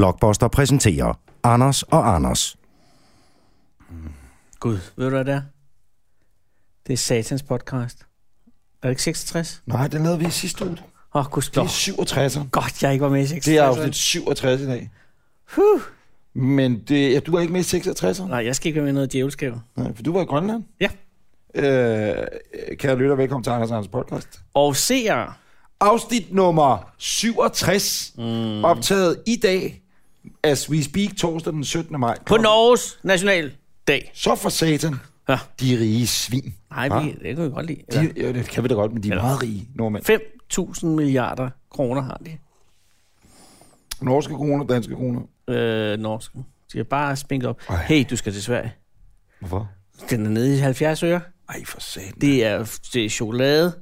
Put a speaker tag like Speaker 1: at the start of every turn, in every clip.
Speaker 1: Blockbuster præsenterer Anders og Anders.
Speaker 2: Gud, ved du hvad det er? Det er satans podcast. Er det ikke 66?
Speaker 3: Nej, den lavede vi i sidste uge. Det
Speaker 2: Åh, oh, gudskelov.
Speaker 3: er Altså, 67.
Speaker 2: Godt, jeg ikke var med i
Speaker 3: Det
Speaker 2: 66.
Speaker 3: er afsnit 67 i dag.
Speaker 2: Huh.
Speaker 3: Men det, ja, du er ikke med i 66?
Speaker 2: Nej, jeg skal ikke være med i noget djævelskab.
Speaker 3: Nej, for du var i Grønland.
Speaker 2: Ja.
Speaker 3: Øh, kære lytter, velkommen til Anders og Anders podcast.
Speaker 2: Og seere.
Speaker 3: Afsnit nummer 67, mm. optaget i dag, as we speak, torsdag den 17. maj.
Speaker 2: På Norges nationaldag.
Speaker 3: Så for satan,
Speaker 2: Ja.
Speaker 3: de rige svin.
Speaker 2: Nej, vi, det kan vi godt lide.
Speaker 3: Ah. De, ja, det kan vi da godt, men de er meget rige nordmænd.
Speaker 2: 5.000 milliarder kroner har de.
Speaker 3: Norske kroner, danske kroner.
Speaker 2: Øh, norske. De er bare spænkt op.
Speaker 3: Ej.
Speaker 2: Hey, du skal til Sverige.
Speaker 3: Hvorfor?
Speaker 2: Den er nede i 70 øre.
Speaker 3: Ej, for satan.
Speaker 2: Det er, det er chokolade.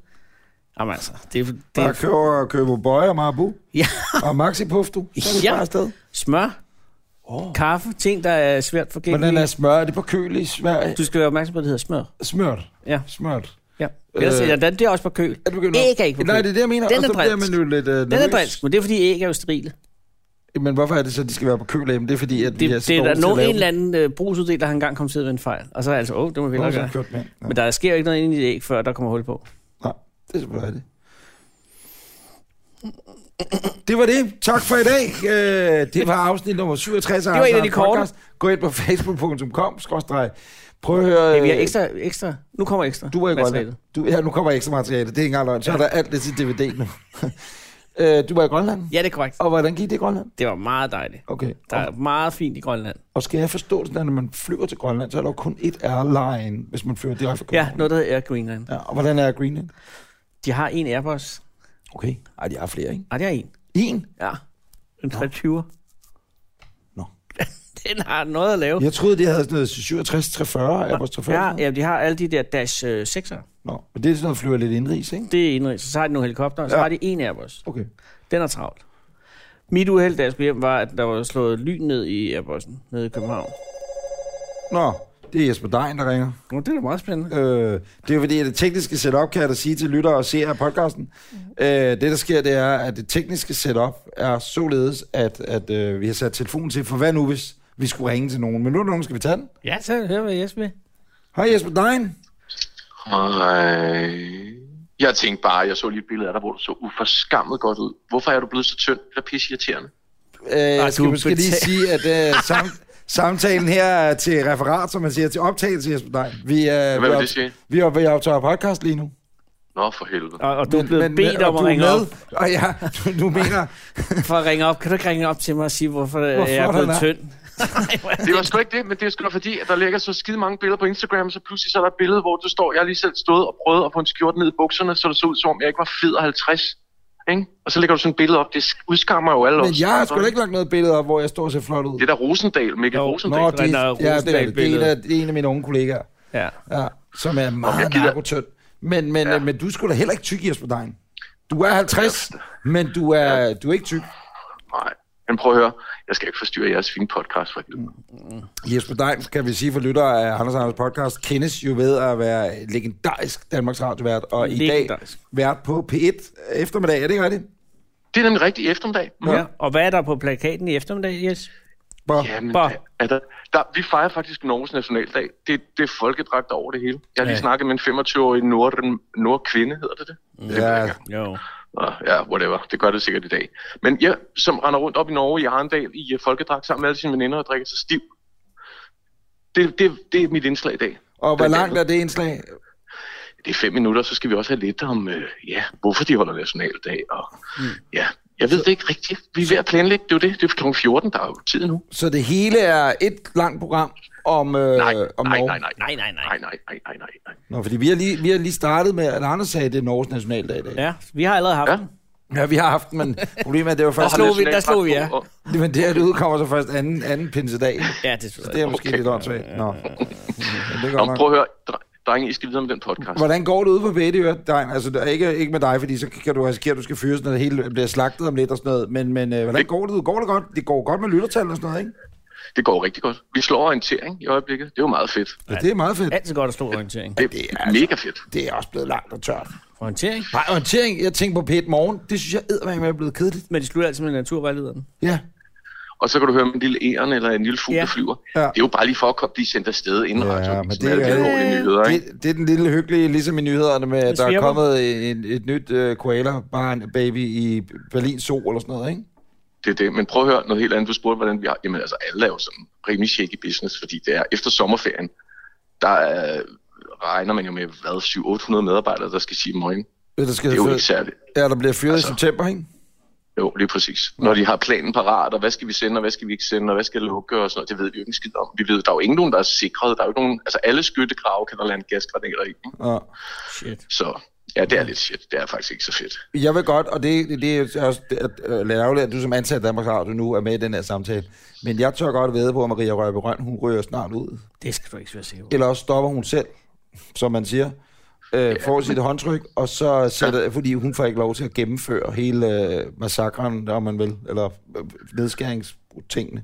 Speaker 2: Jamen altså, det, er- det
Speaker 3: Bare
Speaker 2: er
Speaker 3: køber, køber bøje og marabu.
Speaker 2: Ja.
Speaker 3: Og maxi puff, du. Så er det
Speaker 2: Ja.
Speaker 3: bare afsted.
Speaker 2: smør,
Speaker 3: Oh.
Speaker 2: kaffe, ting, der er svært
Speaker 3: Hvordan
Speaker 2: forgængelige.
Speaker 3: er smør? Er det på køl i Sverige?
Speaker 2: Du skal være opmærksom på, at det hedder smør.
Speaker 3: Smørt.
Speaker 2: Ja.
Speaker 3: Smørt.
Speaker 2: Ja. Ellers,
Speaker 3: Øh.
Speaker 2: øh, ja, den, det er også på køl.
Speaker 3: Er det begyndt
Speaker 2: Æg er ikke på
Speaker 3: Nej,
Speaker 2: køl.
Speaker 3: det er det, jeg mener.
Speaker 2: Den
Speaker 3: og
Speaker 2: er
Speaker 3: så bliver
Speaker 2: drilsk.
Speaker 3: man jo lidt uh,
Speaker 2: Den er drilsk, men det er fordi æg er jo sterile.
Speaker 3: Men hvorfor er det så, at de skal være på køl af dem? Det er fordi, at
Speaker 2: Det,
Speaker 3: vi er
Speaker 2: det,
Speaker 3: så
Speaker 2: det er
Speaker 3: dårlige
Speaker 2: der
Speaker 3: til at
Speaker 2: nogen,
Speaker 3: lave
Speaker 2: en
Speaker 3: dem.
Speaker 2: eller anden øh, brugsuddeler har engang kommet til at ved en fejl. Og så er altså, åh, oh, det må vi
Speaker 3: Nå,
Speaker 2: hellere
Speaker 3: så er
Speaker 2: gøre.
Speaker 3: det kørt med. Ja.
Speaker 2: Men der sker jo ikke noget inde i et æg, før der kommer hul på.
Speaker 3: Nej, det er selvfølgelig det. Det var det. Tak for i dag. Øh, Det var afsnit nummer 67 af
Speaker 2: Det var en af
Speaker 3: Anders
Speaker 2: de korte.
Speaker 3: Podcast. Gå ind på facebook.com, skråstreg. Prøv at høre...
Speaker 2: Men vi har
Speaker 3: øh,
Speaker 2: ekstra, ekstra. Nu kommer ekstra.
Speaker 3: Du er i Grønland.
Speaker 2: materialet.
Speaker 3: Du, ja, nu kommer ekstra materiale. Det er ikke engang løgn. Så er der alt det til DVD nu. Øh, du var i Grønland.
Speaker 2: Ja, det er korrekt.
Speaker 3: Og hvordan gik det i Grønland?
Speaker 2: Det var meget dejligt.
Speaker 3: Okay.
Speaker 2: Der er meget fint i Grønland.
Speaker 3: Og skal jeg forstå det, sådan, at når man flyver til Grønland, så er der jo kun ét airline, hvis man flyver direkte fra
Speaker 2: Ja,
Speaker 3: København.
Speaker 2: noget, der hedder Air Greenland.
Speaker 3: ja. Og hvordan er Greenland?
Speaker 2: De har en Airbus.
Speaker 3: Okay. Ej, de har flere, ikke?
Speaker 2: Nej, det er en.
Speaker 3: En?
Speaker 2: Ja. En 320.
Speaker 3: Nå.
Speaker 2: Den har noget at lave.
Speaker 3: Jeg troede, de havde sådan noget 67, 340, Airbus 340.
Speaker 2: Ja, ja, de har alle de der Dash øh, 6'er.
Speaker 3: Nå, men det er sådan noget, flyver lidt indrigs, ikke?
Speaker 2: Det er indrigs. Så har de nogle helikopter, og så
Speaker 3: Ja.
Speaker 2: har de en Airbus.
Speaker 3: Okay.
Speaker 2: Den er travlt. Mit uheld, da jeg skulle hjem, var, at der var slået lyn ned i Airbussen nede i København.
Speaker 3: Nå, det er Jesper Dein, der ringer.
Speaker 2: Nå, det er da meget spændende.
Speaker 3: Øh, det er fordi, at det tekniske setup, kan jeg da sige til lyttere og seere af podcasten, øh, det der sker, det er, at det tekniske setup er således, at, at øh, vi har sat telefonen til, for hvad nu, hvis vi skulle ringe til nogen? Men nu er der nogen, skal vi tage den.
Speaker 2: Ja, så hør, hvad Jesper vil.
Speaker 3: Hej Jesper Dein. Øh,
Speaker 4: Hej. øh, Jeg tænkte bare, jeg så lige et billede af dig, hvor du så uforskammet godt ud. Hvorfor er du blevet så tynd? Det er pisse irriterende.
Speaker 3: Øh, jeg skal
Speaker 2: du
Speaker 3: måske lige sige, at øh, sam, samtalen her er til referat, som man siger, til optagelse, Jesper Dein. Vi, øh,
Speaker 4: Hvad
Speaker 3: vi,
Speaker 4: vil
Speaker 3: op-
Speaker 4: det sige?
Speaker 3: vi, op- vi optager podcast lige nu. øh,
Speaker 4: Nå, for helvede.
Speaker 2: Og, og du er blevet men, bedt
Speaker 3: og
Speaker 2: om
Speaker 3: du
Speaker 2: at
Speaker 3: er
Speaker 2: ringe
Speaker 3: med,
Speaker 2: op.
Speaker 3: Og ja, du, du mener...
Speaker 2: For at ringe op. Kan du ikke ringe op til mig og sige, hvorfor, hvorfor jeg
Speaker 3: Hvorfor
Speaker 2: er blevet
Speaker 3: den er-
Speaker 2: tynd? Nej, hvor er
Speaker 4: Det var sgu ikke det, men det er sgu da fordi, at der ligger så skide mange billeder på Instagram, så pludselig så er der et billede, hvor du står, jeg har lige selv stået og prøvet at få en skjorte ned i bukserne, så det så ud som om, jeg ikke var fed og 50. Ikke? Og så lægger du sådan et billede op, det sk- udskammer jo alle
Speaker 3: Men
Speaker 4: os.
Speaker 3: jeg har sgu da ikke lagt noget billede op, hvor jeg står og ser flot ud.
Speaker 4: Det er da Rosendal, Mikkel
Speaker 2: Jo,
Speaker 4: Rosendal.
Speaker 3: Nå, det,
Speaker 2: Render
Speaker 3: ja, det, er, det, det, er en
Speaker 2: Rosendal-billedet.
Speaker 3: af, det er en af mine unge kollegaer,
Speaker 2: Ja.
Speaker 3: ja, som er meget
Speaker 4: gider-
Speaker 3: narkotønd. Men, men, ja. men du skulle da heller ikke tyk, Jesper Dein. Du er 50, men du er, du er ikke tyk.
Speaker 4: Nej, men prøv at høre, jeg skal ikke forstyrre jeres fine podcast for helvede.
Speaker 3: Mm. Jesper Dein, kan vi sige for lyttere af Anders Anders podcast, kendes jo ved at være legendarisk Danmarks radiovært, og i dag
Speaker 2: Legendarisk.
Speaker 3: vært på P1 eftermiddag. Er det ikke rigtigt?
Speaker 4: Det er nemlig rigtig eftermiddag. Mm.
Speaker 2: ja. Og hvad er der på plakaten i eftermiddag, Jes?
Speaker 3: Hvor-
Speaker 4: Ja, men
Speaker 2: Bare-
Speaker 4: der, er der, der, vi fejrer faktisk Norges nationaldag. Det, det er folkedragt over det hele. Jeg har lige
Speaker 2: Ja.
Speaker 4: snakket med en 25-årig nord, nordkvinde, hedder det det?
Speaker 3: Ja,
Speaker 2: Jo.
Speaker 4: Nå, Ja, whatever. Det gør det sikkert i dag. Men jeg, som render rundt op i Norge i Arendal i øh, folkedragt sammen med alle sine veninder og drikker sig stiv. Det, det, det er mit indslag i dag.
Speaker 3: og hvor langt er det indslag?
Speaker 4: Det er fem minutter, så skal vi også have lidt om, øh, ja, hvorfor de holder nationaldag. Og,
Speaker 2: Mm.
Speaker 4: ja, jeg ved det ikke rigtigt. Vi er ved at planlægge. Det er jo det. Det er kl. 14, der er jo tid nu.
Speaker 2: Øh,
Speaker 3: Så det hele er et langt program om, øh,
Speaker 4: Nej,
Speaker 3: om
Speaker 4: nej,
Speaker 3: Norge?
Speaker 4: nej, nej,
Speaker 2: Nej, nej, nej.
Speaker 4: nej, nej, nej, nej, nej, nej.
Speaker 3: Nå, fordi vi har lige, vi har lige startet med, at Anders sagde, at det er Norges nationaldag i dag.
Speaker 2: Ja, vi har allerede haft
Speaker 4: Ja.
Speaker 2: den.
Speaker 3: Ja, vi har haft den, men problemet er, at det var
Speaker 2: Der
Speaker 3: først...
Speaker 2: slog vi- der slog vi, ja.
Speaker 4: Og-
Speaker 3: Men det her, det udkommer så først anden, anden pinsedag.
Speaker 2: Ja, det tror jeg.
Speaker 3: Det er måske
Speaker 4: Okay.
Speaker 3: lidt åndssvagt. Nå. Men det
Speaker 4: Nå,
Speaker 3: går
Speaker 4: men prøv
Speaker 3: nok.
Speaker 4: at høre, dre- drenge, I skal videre med den podcast.
Speaker 3: Hvordan går det ude på Vædø, Dein? Altså, det er ikke, ikke med dig, fordi så kan du risikere, at du skal fyres, når det hele bliver slagtet om lidt og sådan noget. Men, men øh, hvordan går det ud? Går det godt? Det går godt med lyttertal og sådan noget, ikke?
Speaker 4: Det går rigtig godt. Vi slår orientering i øjeblikket. Det er jo meget fedt.
Speaker 3: Ja, altså- det er meget fedt.
Speaker 2: Altid godt at slå orientering.
Speaker 4: Det, det er mega fedt.
Speaker 3: Det er også blevet langt og tørt.
Speaker 2: Orientering?
Speaker 3: Nej, orientering, jeg tænker på pæt morgen. Det synes jeg eddermame er blevet kedeligt.
Speaker 2: Men det slutter altid med naturvejlederen.
Speaker 3: Ja.
Speaker 4: og så kan du høre om en lille æren eller en lille fugl,
Speaker 2: Ja.
Speaker 4: der flyver.
Speaker 3: Ja.
Speaker 4: Det er jo bare lige for at komme, blive sendt afsted inden
Speaker 3: Ja,
Speaker 4: ja, radioen.
Speaker 3: men
Speaker 4: Men
Speaker 3: det
Speaker 4: det,
Speaker 3: er-
Speaker 4: er jo nyheder, ikke?
Speaker 3: Det, det er den lille hyggelige, ligesom i nyhederne med, at der er
Speaker 2: svirper.
Speaker 3: kommet en, et nyt uh, koala-barn-baby i Berlin Zoo eller sådan noget, ikke?
Speaker 4: Det er det. Men prøv at høre noget helt andet. Du spurgte, hvordan vi har... Jamen altså, alle er jo sådan rimelig shaky business, fordi det er efter sommerferien, der øh, regner man jo med, hvad, 700-800 medarbejdere, der skal sige morgen.
Speaker 3: Det, der, skal
Speaker 4: Det er jo
Speaker 3: fyr-
Speaker 4: ikke særligt.
Speaker 3: ja, der bliver fyret altså.
Speaker 4: Altså.
Speaker 3: i september, ikke?
Speaker 4: Jo, lige præcis. Når de har planen parat, og hvad skal vi sende, og hvad skal vi ikke sende, og hvad skal lukke, og sådan noget, det ved vi jo ikke en skid om. Vi ved, der er jo ingen nogen, der er sikret. Der er jo ikke nogen, altså alle skyttegrave kan der lande gasgranater i. ikke?
Speaker 3: Ja.
Speaker 2: Shit.
Speaker 4: Så ja, det er lidt shit. Det er faktisk ikke så fedt.
Speaker 3: Jeg vil godt, og det, det, det er også det er- øh, lidt ærgerligt, at du som ansat i Danmarks Radio nu er med i den her samtale. Men jeg tør godt ved på, at Maria Røbe Røn, hun ryger snart ud.
Speaker 2: Det skal du ikke være sikker på.
Speaker 3: Eller også stopper hun selv, som man siger, øh, ja, får sit håndtryk, og så sætter, ja. fordi hun får ikke lov til at gennemføre hele øh, massakren, om man vil, eller øh, nedskæringstingene.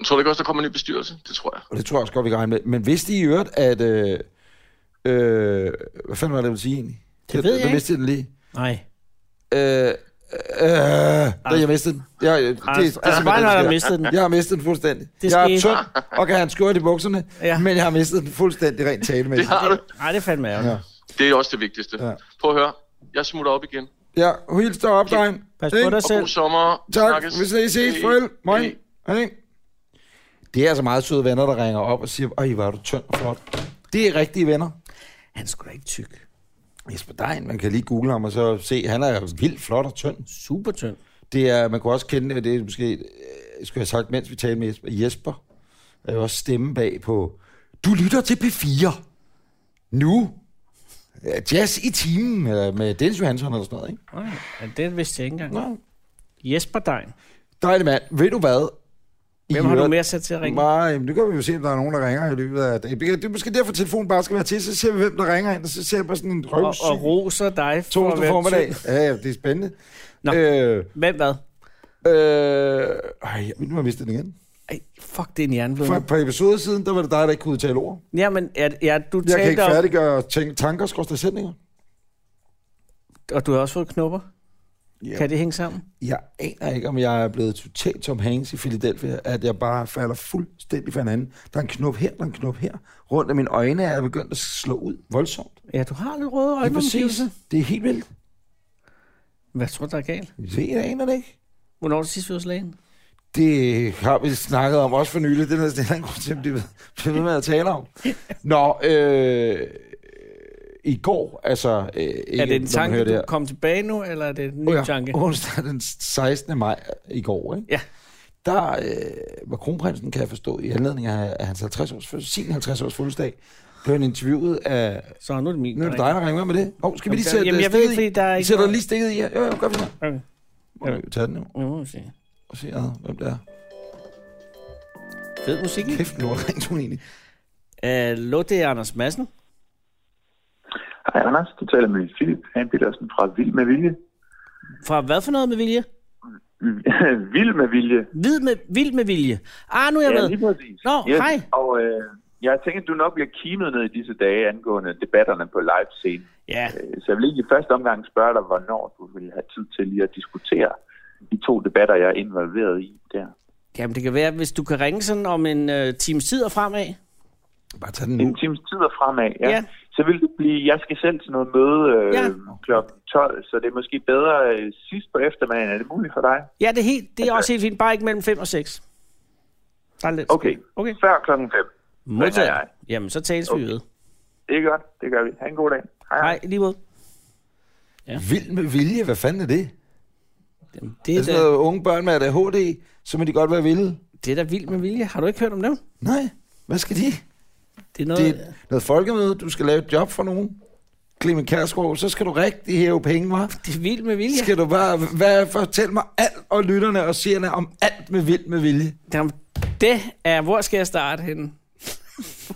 Speaker 4: Jeg tror du ikke også, der kommer en ny bestyrelse? Det tror jeg.
Speaker 3: Og det tror jeg også godt, vi kan regne med. Men vidste I i øvrigt, at... Øh, øh, hvad fanden var det, jeg ville sige egentlig?
Speaker 2: Det ved jeg
Speaker 3: Det
Speaker 2: ikke.
Speaker 3: vidste jeg den lige.
Speaker 2: Nej.
Speaker 3: Øh, øh, der, jeg mistede den. Jeg, jeg- det, det,
Speaker 2: Anders Breinholt har mistet den.
Speaker 3: Jeg har mistet den fuldstændig.
Speaker 2: Det
Speaker 3: jeg er
Speaker 2: skete.
Speaker 3: tynd og kan have en skørt i bukserne, ja.
Speaker 2: Ja.
Speaker 3: men jeg har mistet den fuldstændig rent talemæssigt.
Speaker 4: Det har du.
Speaker 2: Nej, det er fandme ærgerligt.
Speaker 3: Ja.
Speaker 2: Ja.
Speaker 4: Det er også det vigtigste.
Speaker 3: Ja.
Speaker 4: Prøv at høre. Jeg smutter op igen.
Speaker 3: Ja, hils dig op, dreng.
Speaker 2: Pas
Speaker 3: Ikke?
Speaker 2: på dig
Speaker 4: Og
Speaker 2: selv.
Speaker 4: god sommer.
Speaker 3: Tak,
Speaker 4: Snakkes.
Speaker 3: vi ses, ses,
Speaker 4: Hej.
Speaker 3: farvel. Moin.
Speaker 4: Hej.
Speaker 3: Hej. Det er altså meget søde venner, der ringer op og siger, ej, hvor er du tynd og flot. Det er rigtige venner.
Speaker 2: Han skulle da ikke tyk.
Speaker 3: Jesper Dein, man kan lige google ham og så se, han er vildt flot og tynd.
Speaker 2: Super tynd.
Speaker 3: Det er, man kunne også kende, det er måske, øh, skulle jeg have sagt, mens vi talte med Jesper, Jesper er jo også stemme bag på, du lytter til P4 nu. Ja, Jazz i timen eller med Dennis Johansson eller sådan noget, ikke?
Speaker 2: Nej, men det vidste jeg ikke engang.
Speaker 3: Nå.
Speaker 2: Jesper Dein.
Speaker 3: Dejlig mand. Ved du hvad? I
Speaker 2: Hvem har du
Speaker 3: øvrigt-
Speaker 2: mere sat til at ringe?
Speaker 3: Nej, jamen, nu kan vi jo se, om der er nogen, der ringer i løbet af dagen. Det er måske derfor, telefonen bare skal være til, så ser vi, hvem der ringer ind, og så ser jeg bare sådan en
Speaker 2: Og,
Speaker 3: røvsyg
Speaker 2: og roser dig for at
Speaker 3: torsdag
Speaker 2: være
Speaker 3: formiddag.
Speaker 2: tyk.
Speaker 3: Ja, ja, det er spændende.
Speaker 2: Nå.
Speaker 3: Øh,
Speaker 2: Hvem hvad?
Speaker 3: øh, ej, nu har jeg mistet den igen.
Speaker 2: Ej, fuck, det er en
Speaker 3: For
Speaker 2: jernblødning.
Speaker 3: et par episoder siden, der var det dig, der ikke kunne udtale ord.
Speaker 2: Jamen, ja, ja, du
Speaker 3: Jeg kan
Speaker 2: talte
Speaker 3: ikke
Speaker 2: om,
Speaker 3: færdiggøre tænk, tanker, skorstræk sætninger.
Speaker 2: og du har også fået knopper.
Speaker 3: Ja.
Speaker 2: Kan det hænge sammen?
Speaker 3: Jeg aner ikke, om jeg er blevet totalt Tom Hanks i Philadelphia, at jeg bare falder fuldstændig fra hinanden. Der er en knop her, der er en knop her. Rundt af mine øjne er jeg begyndt at slå ud voldsomt.
Speaker 2: Ja, du har lidt røde
Speaker 3: Det er
Speaker 2: øjne.
Speaker 3: præcis.
Speaker 2: omgivelser.
Speaker 3: Det er helt vildt.
Speaker 2: Hvad tror du, der er galt?
Speaker 3: Jeg ved- Jeg aner det ikke.
Speaker 2: Hvornår er det sidst, vi var hos lægen?
Speaker 3: Det har vi snakket om også for nylig. Det er der sådan en eller anden grund til, at det bliver ved med at tale om. Nå, øh, i går, altså... Øh, ikke,
Speaker 2: Er det en
Speaker 3: når man hører
Speaker 2: tanke,
Speaker 3: det
Speaker 2: du
Speaker 3: her.
Speaker 2: kom tilbage nu, eller er det en ny
Speaker 3: Oh ja,
Speaker 2: tanke?
Speaker 3: Onsdag den 16. maj i går, ikke?
Speaker 2: Ja.
Speaker 3: Der øh, var kronprinsen, kan jeg forstå, i anledning af, af hans 50 års, fødsel- sin 50 års fødselsdag, blev han interviewet af...
Speaker 2: Så nu er det min.
Speaker 3: Nu er det
Speaker 2: dreng.
Speaker 3: dig, der ringer med det. Hov, skal vi lige
Speaker 2: Jamen,
Speaker 3: sætte
Speaker 2: jamen, jeg
Speaker 3: øh,
Speaker 2: ved
Speaker 3: stikket
Speaker 2: ikke,
Speaker 3: i?
Speaker 2: fordi der er
Speaker 3: Vi
Speaker 2: ikke
Speaker 3: Sætter
Speaker 2: noget-
Speaker 3: lige stikket i her? Jo, jo, gør vi så.
Speaker 2: Okay.
Speaker 3: Må vi tage den nu
Speaker 2: Nu må vi se.
Speaker 3: og se, ad, hvem det er.
Speaker 2: Fed musik, ikke?
Speaker 3: Kæft, lort ringtone egentlig.
Speaker 2: Hallo, det er Anders Madsen.
Speaker 5: Hej Anders, du taler med Philip Han Petersen fra Vild med Vilje.
Speaker 2: Fra hvad for noget med vilje?
Speaker 5: Vild med Vilje.
Speaker 2: Vild med, vild med vilje. Ah, nu er jeg med.
Speaker 5: lige præcis.
Speaker 2: Nå, hej.
Speaker 5: Og øh, jeg tænker, du nok bliver kimet ned i disse dage angående debatterne på livescenen.
Speaker 2: Ja,
Speaker 5: Øh, Så jeg vil lige i første omgang spørge dig, hvornår du vil have tid til lige at diskutere de to debatter, jeg er involveret i der.
Speaker 2: jamen det kan være, hvis du kan ringe sådan om en øh, times tid og fremad.
Speaker 3: Bare tag den
Speaker 5: En
Speaker 3: nu.
Speaker 5: times tid og fremad, ja.
Speaker 2: Ja.
Speaker 5: ja. Så vil det blive, jeg skal selv til noget møde øh,
Speaker 2: Ja.
Speaker 5: ja. kl. 12, så det er måske bedre øh, sidst på eftermiddagen. Er det muligt for dig?
Speaker 2: Ja, det er, helt, det er også helt fint. Bare ikke mellem 5 og 6. Der er lidt.
Speaker 5: Okay,
Speaker 2: Okay.
Speaker 5: før klokken 5.
Speaker 2: Modtaget. Jamen, så tales vi ved.
Speaker 5: Det er godt, det gør vi. Ha' en god dag. Hej.
Speaker 2: Hej, lige måde.
Speaker 3: Vild med vilje, hvad fanden er det?
Speaker 2: Jamen, Det
Speaker 3: Det
Speaker 2: er,
Speaker 3: er sådan
Speaker 2: da,
Speaker 3: noget unge børn med ADHD, så må de godt være vilde.
Speaker 2: det er da vildt med vilje. Har du ikke hørt om dem?
Speaker 3: Nej, hvad skal de?
Speaker 2: Det er noget...
Speaker 3: Det er noget folkemøde, du skal lave et job for nogen. Clemen Kærsgaard, så skal du rigtig hæve penge, hva'?
Speaker 2: Det er vildt med vilje.
Speaker 3: Skal du bare hvad, fortæl mig alt og lytterne og seerne om alt med vild med vilje?
Speaker 2: Jamen, det er, hvor skal jeg starte henne?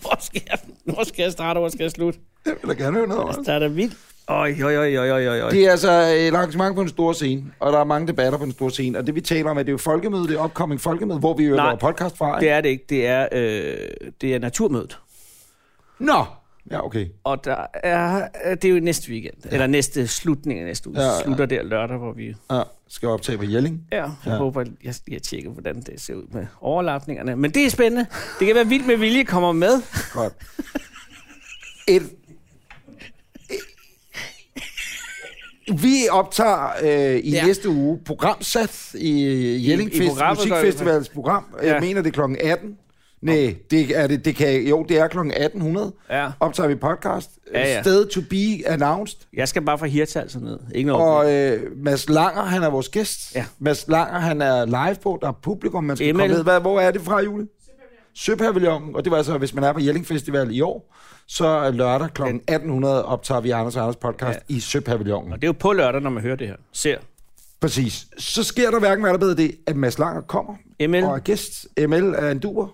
Speaker 2: hvor, skal jeg, hvor skal jeg starte, og hvor skal jeg slutte?
Speaker 3: Det vil jeg gerne høre noget om.
Speaker 2: Der er da vildt. Øj, øj, øj, øj, øj, øj.
Speaker 3: Det er altså et arrangement på en stor scene, og der er mange debatter på en stor scene. Og det vi taler om, er det er jo folkemøde, det er upcoming folkemøde, hvor vi jo
Speaker 2: Nej.
Speaker 3: laver podcast fra.
Speaker 2: Det
Speaker 3: ikke?
Speaker 2: er det ikke. Det er, øh, det er naturmødet.
Speaker 3: Nå, Ja, okay.
Speaker 2: Og der er, øh, det er jo næste weekend, ja. eller næste slutning af næste uge.
Speaker 3: Ja,
Speaker 2: Ja,
Speaker 3: ja.
Speaker 2: Slutter der lørdag, hvor vi...
Speaker 3: Ja, skal jeg optage på Jelling?
Speaker 2: Ja, jeg
Speaker 3: Ja.
Speaker 2: ja. håber, jeg, jeg tjekker, hvordan det ser ud med overlapningerne. Men det er spændende. Det kan være vildt med vilje kommer med.
Speaker 3: Godt. Et... Vi optager øh, i ja.
Speaker 2: Ja.
Speaker 3: næste uge programsat i Jelling
Speaker 2: i
Speaker 3: Fest,
Speaker 2: programmet,
Speaker 3: Musikfestivals program. Jeg
Speaker 2: Ja.
Speaker 3: mener, det er klokken 18. Nej, det er det, det kan, jo, det er klokken 1800.
Speaker 2: Ja.
Speaker 3: Optager vi podcast.
Speaker 2: Ja, ja.
Speaker 3: Sted to be announced.
Speaker 2: Jeg skal bare fra Hirtals og ned. Ikke noget
Speaker 3: Og øh, Mads Langer, han er vores gæst.
Speaker 2: Ja.
Speaker 3: Mads Langer, han er live på. Der er publikum, man skal
Speaker 2: Emil.
Speaker 3: komme med. Hvad, hvor er det fra, Jule? Søpavillonen. Og det var altså, hvis man er på Jelling Festival i år, så er lørdag kl. 1800 optager vi Anders og Anders podcast ja. i Søpavillonen.
Speaker 2: Og det er jo på lørdag, når man hører det her. Ser.
Speaker 3: Præcis. Så sker der hverken hvad der bedre det, at Mads Langer kommer
Speaker 2: ML.
Speaker 3: og er gæst. ML er en duer.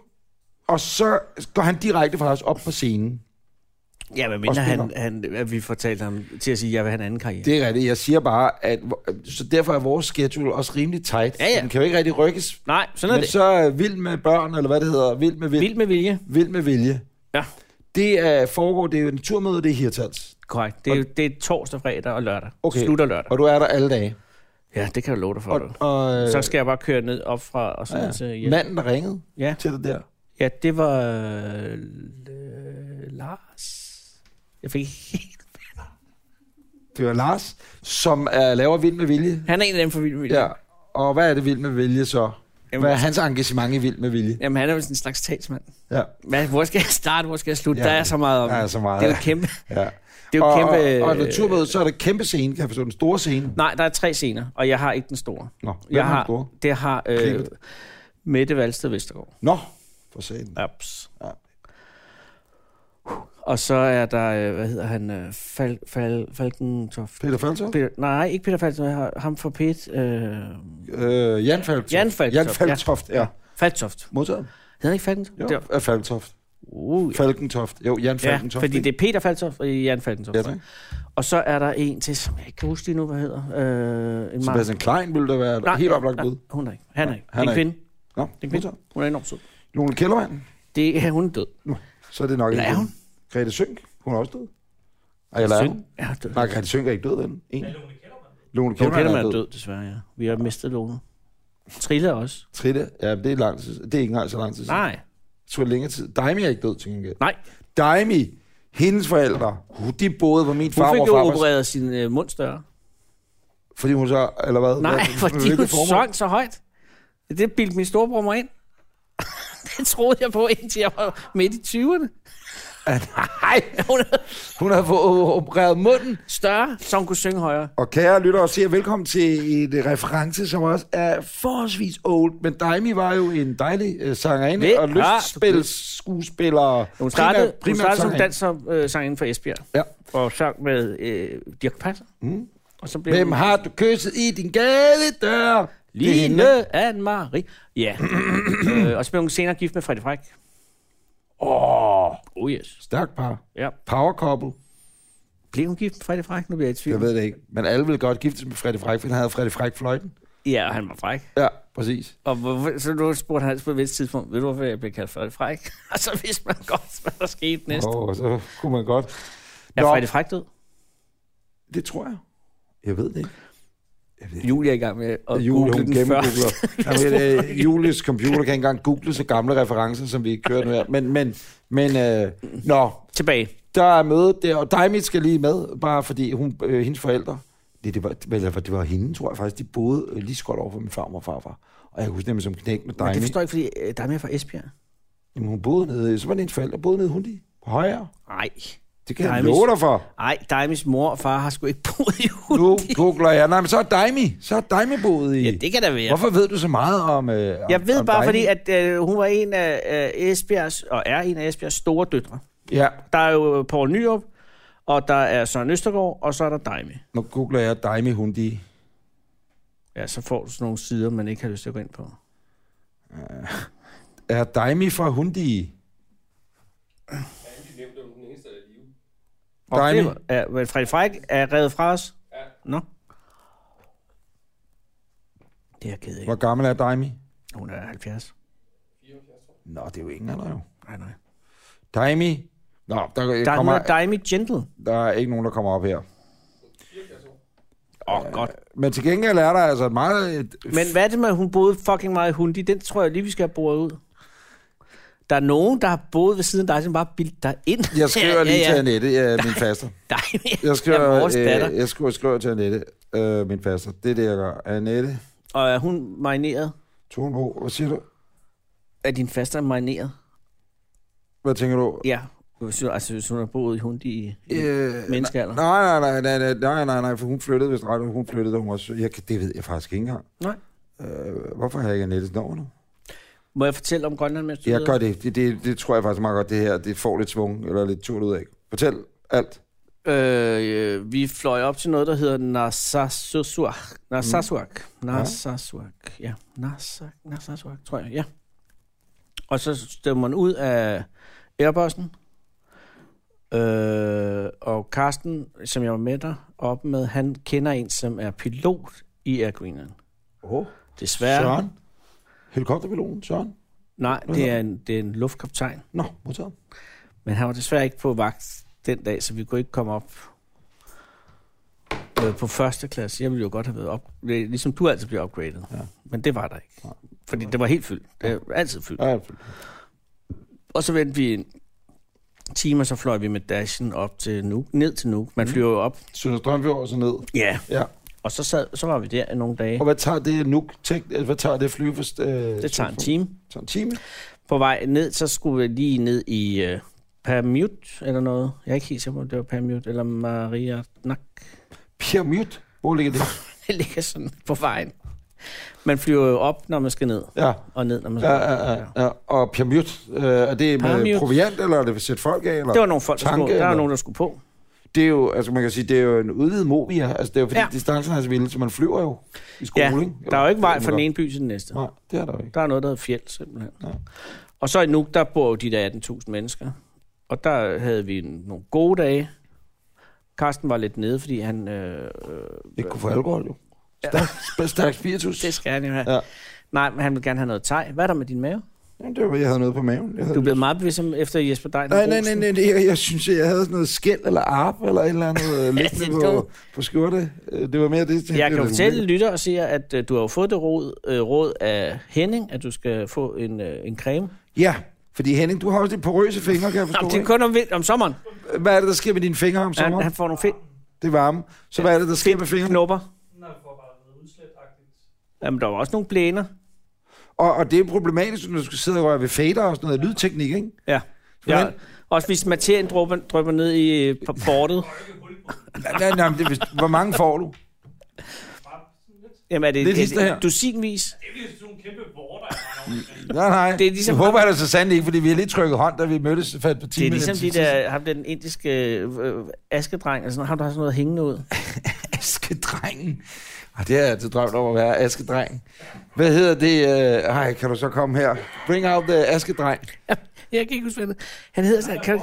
Speaker 3: Og så går han direkte fra os op på scenen.
Speaker 2: Ja, hvad
Speaker 3: Og
Speaker 2: mener
Speaker 3: spiller.
Speaker 2: han, han, at vi fortalte ham til at sige, at jeg vil have en anden karriere? Det...
Speaker 3: Det er rigtigt. Jeg siger bare, at så derfor er vores schedule også rimelig tight.
Speaker 2: Ja, ja.
Speaker 3: Den kan jo ikke rigtig rykkes,
Speaker 2: Nej, sådan er
Speaker 3: Men
Speaker 2: det. Så...
Speaker 3: så øh, vild med børn, eller hvad det hedder, vild med, vil, vild.
Speaker 2: Vild med vilje.
Speaker 3: Vild med vilje.
Speaker 2: Ja,
Speaker 3: Det er, foregår, det er jo en turmøde, det er i Hirtals.
Speaker 2: korrekt. Det er, jo, det er torsdag, fredag og lørdag.
Speaker 3: Okay.
Speaker 2: Slutter lørdag.
Speaker 3: Og du er der alle dage.
Speaker 2: Ja, det kan jeg love dig for.
Speaker 3: Og,
Speaker 2: Og, og,
Speaker 3: og øh,
Speaker 2: så skal jeg bare køre ned op fra og så ja. til
Speaker 3: ja.
Speaker 2: ja.
Speaker 3: manden, der ringede
Speaker 2: ja.
Speaker 3: til dig der.
Speaker 2: Ja, det var øh, L- Lars. Jeg fik helt...
Speaker 3: Det var Lars, som er, laver Vild med vilje.
Speaker 2: Han er en af dem for vild med vilje.
Speaker 3: Ja. Og hvad er det Vild med vilje så?
Speaker 2: Jamen,
Speaker 3: Hvad er hans engagement i Vild med vilje?
Speaker 2: Jamen, han er jo sådan en slags talsmand.
Speaker 3: Ja.
Speaker 2: Hvad, hvor skal jeg starte? Hvor skal jeg slutte?
Speaker 3: Ja.
Speaker 2: Ja. Der er så meget om.
Speaker 3: Der er så meget,
Speaker 2: det er jo
Speaker 3: ja.
Speaker 2: kæmpe.
Speaker 3: ja.
Speaker 2: Det er jo
Speaker 3: og,
Speaker 2: kæmpe...
Speaker 3: og, og naturmødet, så er det kæmpe scene, kan jeg forstå, den store scene.
Speaker 2: Nej, der er tre scener, og jeg har ikke den store.
Speaker 3: Nå, hvem
Speaker 2: jeg
Speaker 3: er den
Speaker 2: har,
Speaker 3: store?
Speaker 2: Det har øh,
Speaker 3: Klippet.
Speaker 2: Mette Valsted Vestergaard.
Speaker 3: Nå, for scenen. Ja.
Speaker 2: Ups. Og så er der, øh, hvad hedder han, øh, Fal, Fal, Falkentoft.
Speaker 3: Peter Faltoft?
Speaker 2: Peter, nej, ikke Peter Falkentoft, jeg har ham fra PET. Øh,
Speaker 3: Øh, Jan Faltoft.
Speaker 2: Jan Faltoft,
Speaker 3: Jan Faltoft, ja. ja.
Speaker 2: Falkentoft.
Speaker 3: Modtaget.
Speaker 2: Hedder han ikke Falkentoft?
Speaker 3: Jo,
Speaker 2: Det var-
Speaker 3: ja. Faltoft.
Speaker 2: Uh,
Speaker 3: Falkentoft. Jo, Jan
Speaker 2: ja,
Speaker 3: Falkentoft.
Speaker 2: fordi det er Peter Falkentoft og Jan Falkentoft.
Speaker 3: Ja, tak.
Speaker 2: og så er der en til, som jeg ikke kan huske lige nu, hvad hedder. Øh, en meget...
Speaker 3: Sebastian Klein ville da være et
Speaker 2: Nej,
Speaker 3: helt oplagt bud.
Speaker 2: Hun er ikke. Han er ikke. Det
Speaker 3: han
Speaker 2: er
Speaker 3: er
Speaker 2: en kvinde.
Speaker 3: Nå,
Speaker 2: Det er en
Speaker 3: det
Speaker 2: kvinde. Hun er enormt sød.
Speaker 3: Lone Kellermann,
Speaker 2: Det er, hun er død.
Speaker 3: så er det nok
Speaker 2: Eller
Speaker 3: ikke
Speaker 2: er
Speaker 3: hende.
Speaker 2: hun?
Speaker 3: Grete Sønk, hun er også død. Ej, Eller er hun?
Speaker 2: Ja, død.
Speaker 3: Nej, Grete Sønk er ikke død endnu. En. Lone
Speaker 2: Lone
Speaker 3: Kellermann
Speaker 2: Kellermann er død, desværre, ja. Vi har mistet Lone. Trille også.
Speaker 3: Tritte, ja, det er, lang tid. siden. det er ikke engang så lang tid siden.
Speaker 2: Nej.
Speaker 3: Det tog længere tid. Daimi er ikke død, til gengæld.
Speaker 2: Nej.
Speaker 3: Daimi, hendes forældre, hu, de boede på min
Speaker 2: Hun
Speaker 3: far
Speaker 2: fik
Speaker 3: og
Speaker 2: jo
Speaker 3: farfars-
Speaker 2: opereret sin øh, mund større.
Speaker 3: Fordi hun så, eller hvad?
Speaker 2: Nej,
Speaker 3: Hvad-
Speaker 2: fordi
Speaker 3: hvilket
Speaker 2: hun
Speaker 3: formål?
Speaker 2: sang så højt. Det bildte min storebror mig ind. det troede jeg på, indtil jeg var midt i 20'erne.
Speaker 3: Ah,
Speaker 2: Nej, hun er
Speaker 3: Hun har fået opereret munden.
Speaker 2: større, så hun kunne synge højere.
Speaker 3: Og kære lyttere, siger velkommen til en reference, som også er forholdsvis old. Men Daimi var jo en dejlig øh, sangerinde
Speaker 2: Det
Speaker 3: og
Speaker 2: er klart.
Speaker 3: lystspilskuespiller.
Speaker 2: Hun startede, primært, hun startede som
Speaker 3: sangerinde.
Speaker 2: danser øh, sangerinde for Esbjerg.
Speaker 3: Ja.
Speaker 2: Og sang med øh, Dirk Passer. Mm. Og så blev
Speaker 3: Hvem
Speaker 2: hun
Speaker 3: har du kysset i din gadedør? Det er hende.
Speaker 2: Line Anne-Marie. Ja. øh, og så blev hun senere gift med Freddy Fræk.
Speaker 3: Åh, oh,
Speaker 2: Oh yes.
Speaker 3: stærk par.
Speaker 2: Ja.
Speaker 3: Power couple.
Speaker 2: Blev hun gift med Freddy Fræk? Nu bliver jeg i tvivl.
Speaker 3: Jeg ved det ikke. Men alle ville godt giftes med Freddy Fræk, for han havde Freddy Fræk fløjten.
Speaker 2: Ja, og han var fræk.
Speaker 3: Ja, præcis.
Speaker 2: Og hvorfor, så nu spurgte han altså på et vist tidspunkt, ved du, hvorfor jeg blev kaldt Freddy Fræk? og så vidste man godt, hvad der skete næste.
Speaker 3: Åh, oh, så kunne man godt.
Speaker 2: Er
Speaker 3: Nå.
Speaker 2: Freddy Fræk død?
Speaker 3: Det tror jeg. Jeg ved det ikke.
Speaker 2: Julie er i gang med at
Speaker 3: Julie,
Speaker 2: google
Speaker 3: hun
Speaker 2: den før.
Speaker 3: gennemgoogler. Jamen, øh, Julies computer kan ikke engang google så gamle referencer, som vi kører nu her. Men, men, men, øh, nå,
Speaker 2: Tilbage.
Speaker 3: der er møde der, og Dejmit skal lige med, bare fordi hun, øh, hendes forældre, det, det, var, eller, det var hende, tror jeg faktisk, de boede øh, lige så godt over for min farmor og farfar. Og jeg kan huske nemlig som knæk med
Speaker 2: Men det
Speaker 3: Dejmit.
Speaker 2: forstår jeg ikke, fordi øh, der er mere fra Esbjerg.
Speaker 3: Jamen, hun boede nede, så var det hendes forældre, boede nede i Hundi, på højre.
Speaker 2: Nej.
Speaker 3: Det kan jeg
Speaker 2: Dejmis-
Speaker 3: love dig for.
Speaker 2: Nej, Daimis mor og far har sgu ikke boet i hulen.
Speaker 3: Nu googler jeg. Nej, men så er Dejmi. Så er Dejmi boet i.
Speaker 2: Ja, det kan da være.
Speaker 3: Hvorfor ved du så meget om øh, om-
Speaker 2: Jeg ved
Speaker 3: om
Speaker 2: bare,
Speaker 3: Dejmi?
Speaker 2: fordi at øh, hun var en af øh, Esbjergs, og er en af Esbjergs store døtre.
Speaker 3: Ja,
Speaker 2: Der er jo øh, Poul Nyrup, og der er Søren Østergaard, og så er der Daimi.
Speaker 3: nu googler jeg Dejmi Hundi.
Speaker 2: Ja, så får du sådan nogle sider, man ikke har lyst til at gå ind på.
Speaker 3: Er Daimi fra Hundi?
Speaker 2: Og
Speaker 3: Daimi.
Speaker 2: det var- Ja, men Frederik Frederik er revet fra os? Ja. Nå. Det er jeg ked af.
Speaker 3: Hvor gammel er Daimi?
Speaker 2: Hun er 70.
Speaker 3: Nå, det er jo ingen alder jo.
Speaker 2: Nej, nej.
Speaker 3: Daimi. Nå, der, der,
Speaker 2: Der er
Speaker 3: kommer,
Speaker 2: noget Dime Gentle.
Speaker 3: der er ikke nogen, der kommer op her.
Speaker 2: Åh, oh, godt.
Speaker 3: Men til gengæld er der altså et meget... Et,
Speaker 2: Men hvad er det med, at hun boede fucking meget i Hundi? Den tror jeg lige, vi skal have boret ud. Der er nogen, der har boet ved siden af dig, som bare bildte dig ind.
Speaker 3: jeg skriver lige til Annette, øh, min faster.
Speaker 2: Dig,
Speaker 3: Jeg
Speaker 2: er
Speaker 3: skriver,
Speaker 2: vores datter.
Speaker 3: øh, jeg skriver, skriver til Annette, øh, min faster. Det er det, jeg gør. Annette,
Speaker 2: Og er hun marineret?
Speaker 3: tog en ro. Hvad siger du?
Speaker 2: Er din faste marineret?
Speaker 3: Hvad tænker du?
Speaker 2: Ja. Hvis du- Altså, hvis hun har boet i Hundi i...
Speaker 3: Øh,
Speaker 2: Menneskealder.
Speaker 3: Nej, nej, nej, nej, nej, nej, nej, nej, for hun flyttede, hvis ret, hun flyttede, da hun var sø- jeg, kan- Det ved jeg faktisk ikke engang.
Speaker 2: Nej.
Speaker 3: Øh, hvorfor har jeg ikke Annettes nummer nu?
Speaker 2: Må jeg fortælle om Grønland, mens du
Speaker 3: Jeg
Speaker 2: sidder?
Speaker 3: gør det. Det, det, det tror jeg faktisk meget godt, det her, det får lidt svung, eller lidt tur ud af. Fortæl alt.
Speaker 2: Øh, øh, vi fløj op til noget, der hedder Narsarsuaq. Narsarsuaq. Narsarsuaq. Ja, Narsarsuaq, Narsarsuaq, tror jeg. Ja. Og så stemmer man ud af airbussen. Øh, og Karsten, som jeg var med dig op med, han kender en, som er pilot i Air Greenland.
Speaker 3: Oh,
Speaker 2: Desværre.
Speaker 3: Søren. Helikopterpiloten, Søren.
Speaker 2: Nej, det er, en, det er en luftkaptajn.
Speaker 3: Nå, modtaget.
Speaker 2: Men han var desværre ikke på vagt den dag, så vi kunne ikke komme op øh, på første klasse. Jeg ville jo godt have været op, ligesom du altid bliver upgradet. Ja. Men det var der ikke. Nej. Fordi det var helt fyldt. Det var altid fyldt.
Speaker 3: Ja,
Speaker 2: Og så vendte vi en time, og så fløj vi med Dashen op til Nuuk, ned til Nuuk. Man flyver jo op.
Speaker 3: Sønder Strømfjord og så ned.
Speaker 2: Mm. Ja.
Speaker 3: Ja.
Speaker 2: Og så, sad, så var vi der i nogle dage.
Speaker 3: Og hvad tager det nu? Tænk, hvad tager det fly for... Øh,
Speaker 2: Det tager en time.
Speaker 3: tager en time.
Speaker 2: På vej ned, så skulle vi lige ned i øh, Permute eller noget. Jeg er ikke helt sikker på, om det var Permute eller Maria Nak.
Speaker 3: Pierre Mute. Hvor ligger det?
Speaker 2: det ligger sådan på vejen. Man flyver jo op, når man skal ned,
Speaker 3: Ja.
Speaker 2: og ned, når man
Speaker 3: Ja,
Speaker 2: skal op.
Speaker 3: ja, ja, ja. Og Piamut, øh, er det med
Speaker 2: Piamut.
Speaker 3: proviant, eller er det for at sætte folk af? Eller?
Speaker 2: Det var nogle folk, der,
Speaker 3: tanke,
Speaker 2: skulle, der var
Speaker 3: eller?
Speaker 2: nogen, der skulle på.
Speaker 3: Det er jo, altså man kan sige, det er jo en udvidet movia. Altså det er jo fordi,
Speaker 2: Ja.
Speaker 3: ja. distancen er så vilde, så man flyver jo i skole,
Speaker 2: Ja,
Speaker 3: ikke?
Speaker 2: der er jo ikke vej fra den
Speaker 3: en.
Speaker 2: ene by til den næste.
Speaker 3: Nej, det er der jo ikke.
Speaker 2: Der er noget, der hedder fjeld, simpelthen.
Speaker 3: Ja.
Speaker 2: Og så i Nuuk, der bor jo de der 18.000 mennesker. Og der havde vi en- nogle gode dage. Karsten var lidt nede, fordi han... Øh, øh,
Speaker 3: Ikke kunne få alkohol, jo. Stærk, ja. stærk spiritus.
Speaker 2: det skal han jo have.
Speaker 3: Ja.
Speaker 2: Ja. Nej, men han vil gerne have noget teg. Hvad er der med din mave?
Speaker 3: Jamen, det var, jeg havde noget på maven. Jeg havde...
Speaker 2: Du blev meget bevidst om, efter Jesper Dein.
Speaker 3: Nej, nej, nej, nej, nej. Jeg, jeg synes, jeg havde sådan noget skæld eller arp eller et eller andet øh,
Speaker 2: det
Speaker 3: liggende
Speaker 2: er
Speaker 3: på,
Speaker 2: dumt.
Speaker 3: på skjorte. Øh, Det var mere det. det
Speaker 2: Jeg
Speaker 3: det
Speaker 2: kan
Speaker 3: var
Speaker 2: fortælle lytter og siger, at øh, du har jo fået det råd, øh, råd af Henning, at du skal få en, øh, en creme.
Speaker 3: Ja, fordi Henning, du har også de porøse fingre, kan jeg forstå.
Speaker 2: Nå, det er kun om, vin- om sommeren.
Speaker 3: ikke? Hvad er det, der sker med dine fingre om
Speaker 2: Han,
Speaker 3: sommeren?
Speaker 2: han får nogle fedt
Speaker 3: Det er varme. Så hvad er det, der sker med fingrene?
Speaker 2: knopper. Jamen, der var også nogle blæner.
Speaker 3: Og, og det er problematisk, når du skal sidde og røre ved fader og sådan noget lydteknik, ikke?
Speaker 2: Ja. ja.
Speaker 3: Hvordan?
Speaker 2: Også hvis materien drypper, drypper ned i øh, på bordet.
Speaker 3: Nej, nej, nej, men det, er vist- hvor mange får du?
Speaker 2: Jamen, er det,
Speaker 3: Lidt hister
Speaker 2: er
Speaker 3: her.
Speaker 2: det dusinvis?
Speaker 3: Nej, nej.
Speaker 2: Det er ligesom-
Speaker 3: Nu håber jeg da så sandelig ikke, fordi vi har lige trykket hånd, da vi mødtes for et par
Speaker 2: Det er
Speaker 3: timer.
Speaker 2: ligesom de
Speaker 3: siden.
Speaker 2: der, ham der den indiske øh, askedreng, altså, ham der har sådan noget hængende ud.
Speaker 3: Askedrengen. Og det har jeg altid drømt om at være askedreng. Hvad hedder det? Øh, Ej, kan du så komme her? Bring out the askedreng.
Speaker 2: Jeg kan ikke huske, hvad han hed. han hedder. Sådan, kan...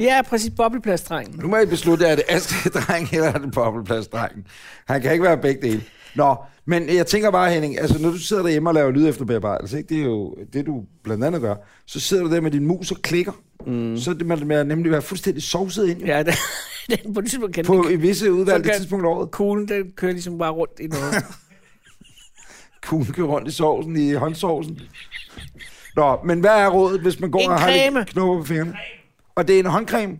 Speaker 2: Ja, præcis, bobleplastdrengen.
Speaker 3: Nu må I beslutte, er det askedreng eller er det bobleplastdrengen? Han kan ikke være begge dele. Nå, men jeg tænker bare, Henning, altså når du sidder derhjemme og laver lyd efter bearbejdelse, ikke? det er jo det, du blandt andet gør, så sidder du der med din mus og klikker. Mm. Så er det man man nemlig være fuldstændig sovset ind jo.
Speaker 2: Ja, den, den på det tidspunkt kan
Speaker 3: på
Speaker 2: på,
Speaker 3: i visse udvalgte
Speaker 2: Så
Speaker 3: kan...
Speaker 2: kan-
Speaker 3: tidspunkter af året.
Speaker 2: kuglen, den kører ligesom bare rundt i noget.
Speaker 3: Kuglen kører rundt i sovsen, i håndsovsen. Nå, men hvad er rådet, hvis man går
Speaker 2: En
Speaker 3: og har
Speaker 2: creme.
Speaker 3: lidt knopper på fingrene? Og det er en håndcreme?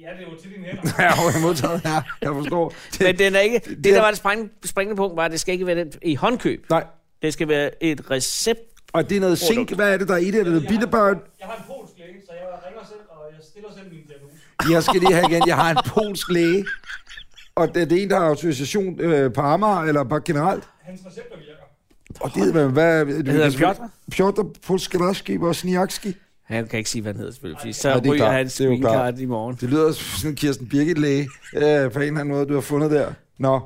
Speaker 3: Ja, det er jo til dine hænder. ja, okay, modtaget. Ja, jeg forstår. Det,
Speaker 2: Men den er ikke, det,
Speaker 3: Det
Speaker 2: der
Speaker 3: er-
Speaker 2: var det spræng, springende punkt, var, at det skal ikke være den i håndkøb.
Speaker 3: Nej,
Speaker 2: Det skal være et recept.
Speaker 3: og det er noget zink. Hvad er det, der er i det? Er det noget bitterbørn?
Speaker 6: Jeg har en polsk læge, så jeg ringer selv, og jeg stiller selv min diagnose.
Speaker 3: Jeg skal lige have igen. Jeg har en polsk læge. Og det, det er en, der har autorisation øh, på Amager, eller bare generelt.
Speaker 6: Hans recepter virker.
Speaker 3: Og det hedder, hvad... Det
Speaker 2: hedder Piotr.
Speaker 3: Piotr Polskarski og Sniakski.
Speaker 2: Han kan ikke sige, hvad han hedder, selvfølgelig, fordi så
Speaker 3: Nej,
Speaker 2: ja,
Speaker 3: det er
Speaker 2: ryger
Speaker 3: klart.
Speaker 2: hans
Speaker 3: Det er jo klart.
Speaker 2: minkart i morgen.
Speaker 3: Det lyder som sådan en Kirsten Birgit-læge, øh, på en eller anden måde, du har fundet der. Nå,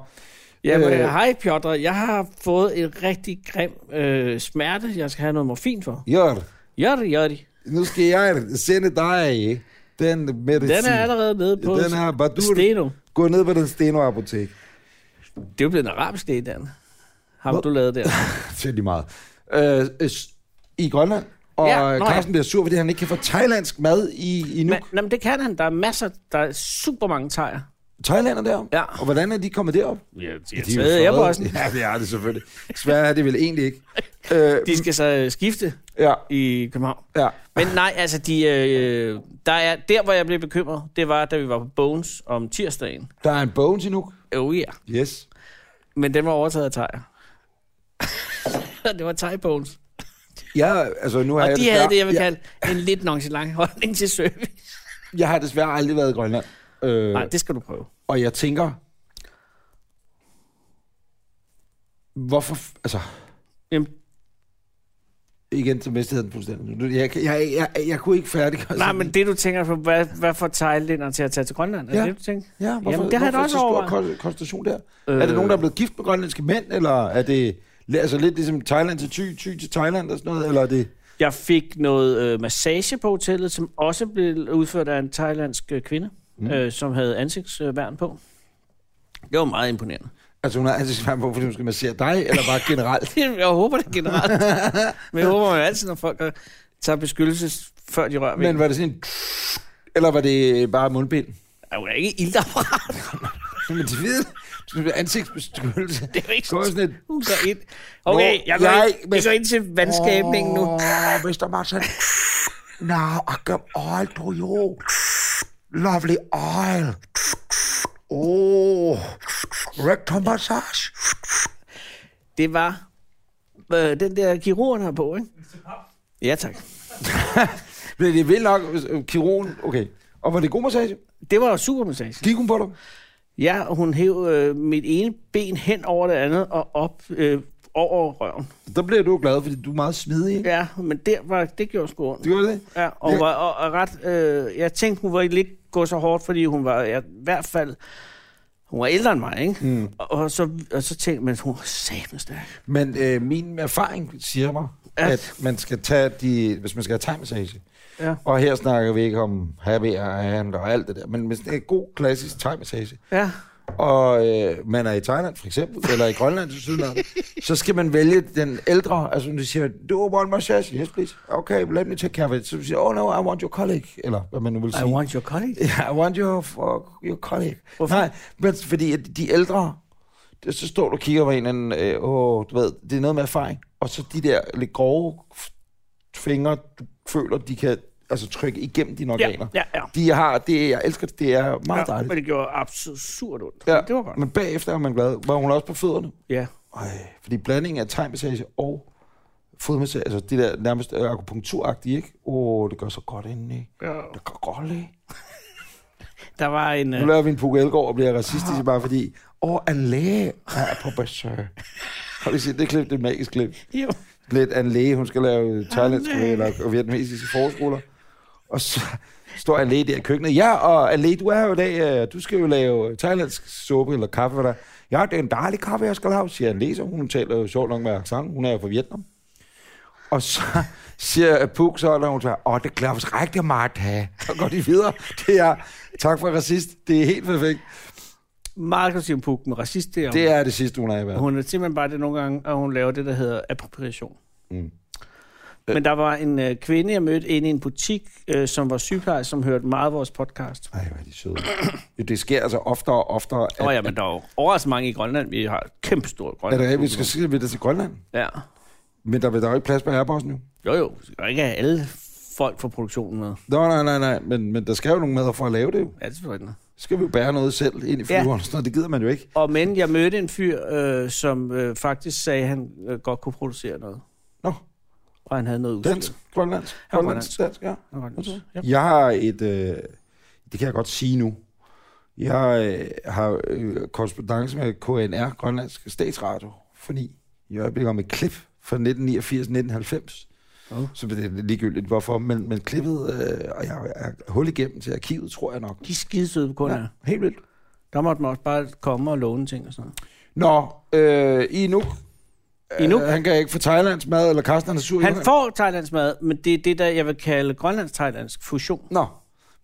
Speaker 2: Ja, men,
Speaker 3: Øh.
Speaker 2: hej Piotr, jeg har fået en rigtig grim øh, smerte, jeg skal have noget morfin for.
Speaker 3: Jør,
Speaker 2: Jørdi, jørdi.
Speaker 3: nu skal jeg sende dig den medicin.
Speaker 2: Den er allerede nede på
Speaker 3: Den er Badur.
Speaker 2: Steno.
Speaker 3: Gå ned på den Steno-apotek.
Speaker 2: Det er jo blevet en arabisk det, Dan. Ham, du lavede der.
Speaker 3: Det er lige meget. Øh, øh, s- I Grønland? og
Speaker 2: Ja, nå
Speaker 3: ja,
Speaker 2: ja.
Speaker 3: Carsten bliver sur, fordi han ikke kan få thailandsk mad i, i nu.
Speaker 2: Men, nå, men det kan han. Der er masser, der er super mange tejer.
Speaker 3: Thailander der?
Speaker 2: Ja.
Speaker 3: Og hvordan er de kommet derop?
Speaker 2: Ja, de
Speaker 3: Ja,
Speaker 2: er taget
Speaker 3: jo
Speaker 2: Airbussen.
Speaker 3: fredet. Ja, det er det selvfølgelig. Sverige er det vel egentlig ikke. Øh,
Speaker 2: De skal så øh, skifte
Speaker 3: ja,
Speaker 2: i København.
Speaker 3: ja.
Speaker 2: Men nej, altså, de, øh, der, er, der hvor jeg blev bekymret, det var, da vi var på Bones om tirsdagen.
Speaker 3: Der er en Bones i Nuuk.
Speaker 2: Oh ja. Yeah.
Speaker 3: Yes.
Speaker 2: Men den var overtaget af Thaier. det var Thai Bones.
Speaker 3: Ja, altså nu har
Speaker 2: Og
Speaker 3: jeg
Speaker 2: de havde det, jeg vil
Speaker 3: jeg,
Speaker 2: kalde en lidt nonchalant holdning til service.
Speaker 3: jeg har desværre aldrig været i Grønland. Øh,
Speaker 2: Nej, det skal du prøve.
Speaker 3: Og jeg tænker, hvorfor, f- altså,
Speaker 2: Jamen,
Speaker 3: igen, så mistede jeg den fuldstændig. nu. Jeg, jeg, jeg, jeg, jeg kunne ikke færdiggøre
Speaker 2: nej,
Speaker 3: sådan
Speaker 2: men
Speaker 3: en-
Speaker 2: det du tænker på, hvad, hvad får thailænderne til at tage til Grønland? Er
Speaker 3: Ja.
Speaker 2: det det, du tænker?
Speaker 3: Ja, hvorfor,
Speaker 2: Jamen, det har jeg da
Speaker 3: hvorfor
Speaker 2: også
Speaker 3: så stor
Speaker 2: overvejet.
Speaker 3: kon- koncentration der? Øh... Er det nogen, der er blevet gift med grønlandske mænd, eller er det altså lidt ligesom Thailand til Thy, Thy til Thailand og sådan noget, eller er det...
Speaker 2: Jeg fik noget øh, massage på hotellet, som også blev udført af en thailandsk øh, kvinde, mm. øh, som havde ansigtsværn på. Det var meget imponerende.
Speaker 3: Altså hun har ansigtsværm på, fordi hun skal massere dig, eller bare generelt?
Speaker 2: Jeg håber det generelt. Men jeg håber jo altid, når folk øh, tager beskyttelse, før de rører ved
Speaker 3: Men
Speaker 2: en.
Speaker 3: var det sådan en... Eller var det bare mundbind?
Speaker 2: Der er jo ikke ildapparat.
Speaker 3: Men det ved jeg. Ansigtsbeskyttelse.
Speaker 2: Det er jo ikke
Speaker 3: Går
Speaker 2: sådan.
Speaker 3: sådan et...
Speaker 2: Hun går ind. Okay,
Speaker 3: Nå,
Speaker 2: jeg går,
Speaker 3: jeg-
Speaker 2: ind, jeg går ind til vandskabningen nu.
Speaker 3: Åh, Mr. Martin. Now I come all to you. Lovely oil. Oh, rectal massage.
Speaker 2: Det var øh, den der kirurgen her på, ikke? Ja, tak.
Speaker 3: Men det er vildt nok, hvis- øh, kirurgen, okay. Og var det god massage?
Speaker 2: Det var jo super massage.
Speaker 3: Gik hun på dig?
Speaker 2: Ja, og hun hæv øh, mit ene ben hen over det andet og op øh, over røven.
Speaker 3: Der bliver du jo glad, fordi du er meget smidig, ikke?
Speaker 2: Ja, men der var, det gjorde sgu ondt.
Speaker 3: Det gjorde det?
Speaker 2: Ja, og,
Speaker 3: Ja.
Speaker 2: var, og, og ret, øh, jeg tænkte, hun var ikke lidt gå så hårdt, fordi hun var ja, i hvert fald... Hun var ældre end mig, ikke? Mm. Og, og, så, og så tænkte jeg, men hun var satme stærk.
Speaker 3: Men øh, min erfaring siger mig,
Speaker 2: Ja.
Speaker 3: at man skal tage de, hvis man skal have thai-massage,
Speaker 2: Ja.
Speaker 3: og her snakker vi ikke om happy and og alt det der, men hvis det er god klassisk thai-massage,
Speaker 2: Ja.
Speaker 3: og øh, man er i Thailand for eksempel, eller i Grønland til Sydland, så skal man vælge den ældre, altså du siger, do you want massage? Yes, please. Okay, let me take care of it. Så siger, oh no, I want your colleague, eller hvad man nu vil sige.
Speaker 2: I want your colleague.
Speaker 3: Yeah, I want your, for, your colleague.
Speaker 2: Hvorfor?
Speaker 3: Nej, men fordi at de ældre, det- så står du og kigger på en eller anden, øh, åh, du ved, det er noget med erfaring. Og så de der lidt grove f- fingre, du føler, de kan altså, trykke igennem dine organer.
Speaker 2: ja, ja.
Speaker 3: De har, det, jeg elsker det, det er meget
Speaker 2: Ja,
Speaker 3: dejligt.
Speaker 2: men det gjorde absurd surt ondt.
Speaker 3: Ja,
Speaker 2: Men Det var godt.
Speaker 3: Men bagefter er man glad. Var hun også på fødderne?
Speaker 2: Ja.
Speaker 3: Ej, fordi blandingen af tegmassage og fodmassage, altså det der nærmest øh, akupunkturagtige, ikke? Åh, oh, det gør så godt indeni.
Speaker 2: ja.
Speaker 3: Det gør godt, ikke?
Speaker 2: Der var en...
Speaker 3: Nu
Speaker 2: Øh,
Speaker 3: laver vi en Pukke Elgård og bliver racistisk, bare fordi, åh, en læge er på besøg. Har du set det klip? Det er et magisk klip.
Speaker 2: jo.
Speaker 3: Lidt af en læge, hun skal lave thailandske eller og vietnamesiske forskoler. Og så står en læge der i køkkenet. Ja, og en læge, du er her jo i dag, øh, du skal jo lave thailandsk suppe eller kaffe for dig. Ja, det er en dejlig kaffe, jeg skal lave, siger en læge, så hun taler jo sjovt nok med accent. Hun er jo fra Vietnam. Og så siger Puk så, når hun siger, åh, det klarer os rigtig meget have. Så går de videre. Det er, tak for racist, det er helt perfekt.
Speaker 2: Markus Puk med racist, det er,
Speaker 3: Det er det sidste, hun har i verden.
Speaker 2: Hun er simpelthen bare det nogle gange, og hun laver det, der hedder appropriation. Mm. Men der var en øh, kvinde, jeg mødte inde i en butik, øh, som var sygeplejerske, som hørte meget af vores podcast.
Speaker 3: Ej, hvor er de søde. Jo, Det sker altså oftere og oftere, at,
Speaker 2: Åh oh, ja, men der er jo overraskende mange i Grønland. Vi har et kæmpe stort
Speaker 3: at,
Speaker 2: Grønland.
Speaker 3: at, at vi skal sige, at til Grønland.
Speaker 2: Ja.
Speaker 3: Men der vil der jo ikke plads på Airbussen jo.
Speaker 2: Jo jo, vi skal ikke have alle folk fra produktionen med.
Speaker 3: Nå, nej, nej, nej, men, men der skal jo nogle med for at lave det jo.
Speaker 2: Ja, det er selvfølgelig rigtigt.
Speaker 3: Så skal vi jo bære noget selv ind i
Speaker 2: Ja.
Speaker 3: flyveren, ja. det gider man jo ikke.
Speaker 2: Og men jeg mødte en fyr, øh, som øh, faktisk sagde, at han øh, godt kunne producere noget.
Speaker 3: Nå,
Speaker 2: Og han havde noget udstyr.
Speaker 3: dansk, grønlandsk,
Speaker 2: Ja,
Speaker 3: grønlandsk, dansk, ja.
Speaker 2: Han var dansk. Ja.
Speaker 3: Jeg har et, øh, det kan jeg godt sige nu, jeg øh, har øh, korrespondence med KNR, Grønlandsk Statsradio, fordi i øjeblikket om et klip fra 1989-1990.
Speaker 2: Åh.
Speaker 3: Så det er ligegyldigt, hvorfor, men, men klippet, øh, og jeg er hul igennem til arkivet, tror jeg nok.
Speaker 2: De er skidesøde kunder. Ja.
Speaker 3: Helt vildt.
Speaker 2: Der måtte man også bare komme og låne ting og sådan noget.
Speaker 3: Nå, øh, i nu.
Speaker 2: I Nuuk?
Speaker 3: Øh, han kan ikke få Thailands mad, eller Karsten han er sur. i
Speaker 2: Han
Speaker 3: Grønland.
Speaker 2: får thailandsk mad, men det er det, der jeg vil kalde grønlandsk-thailandsk fusion.
Speaker 3: Nå,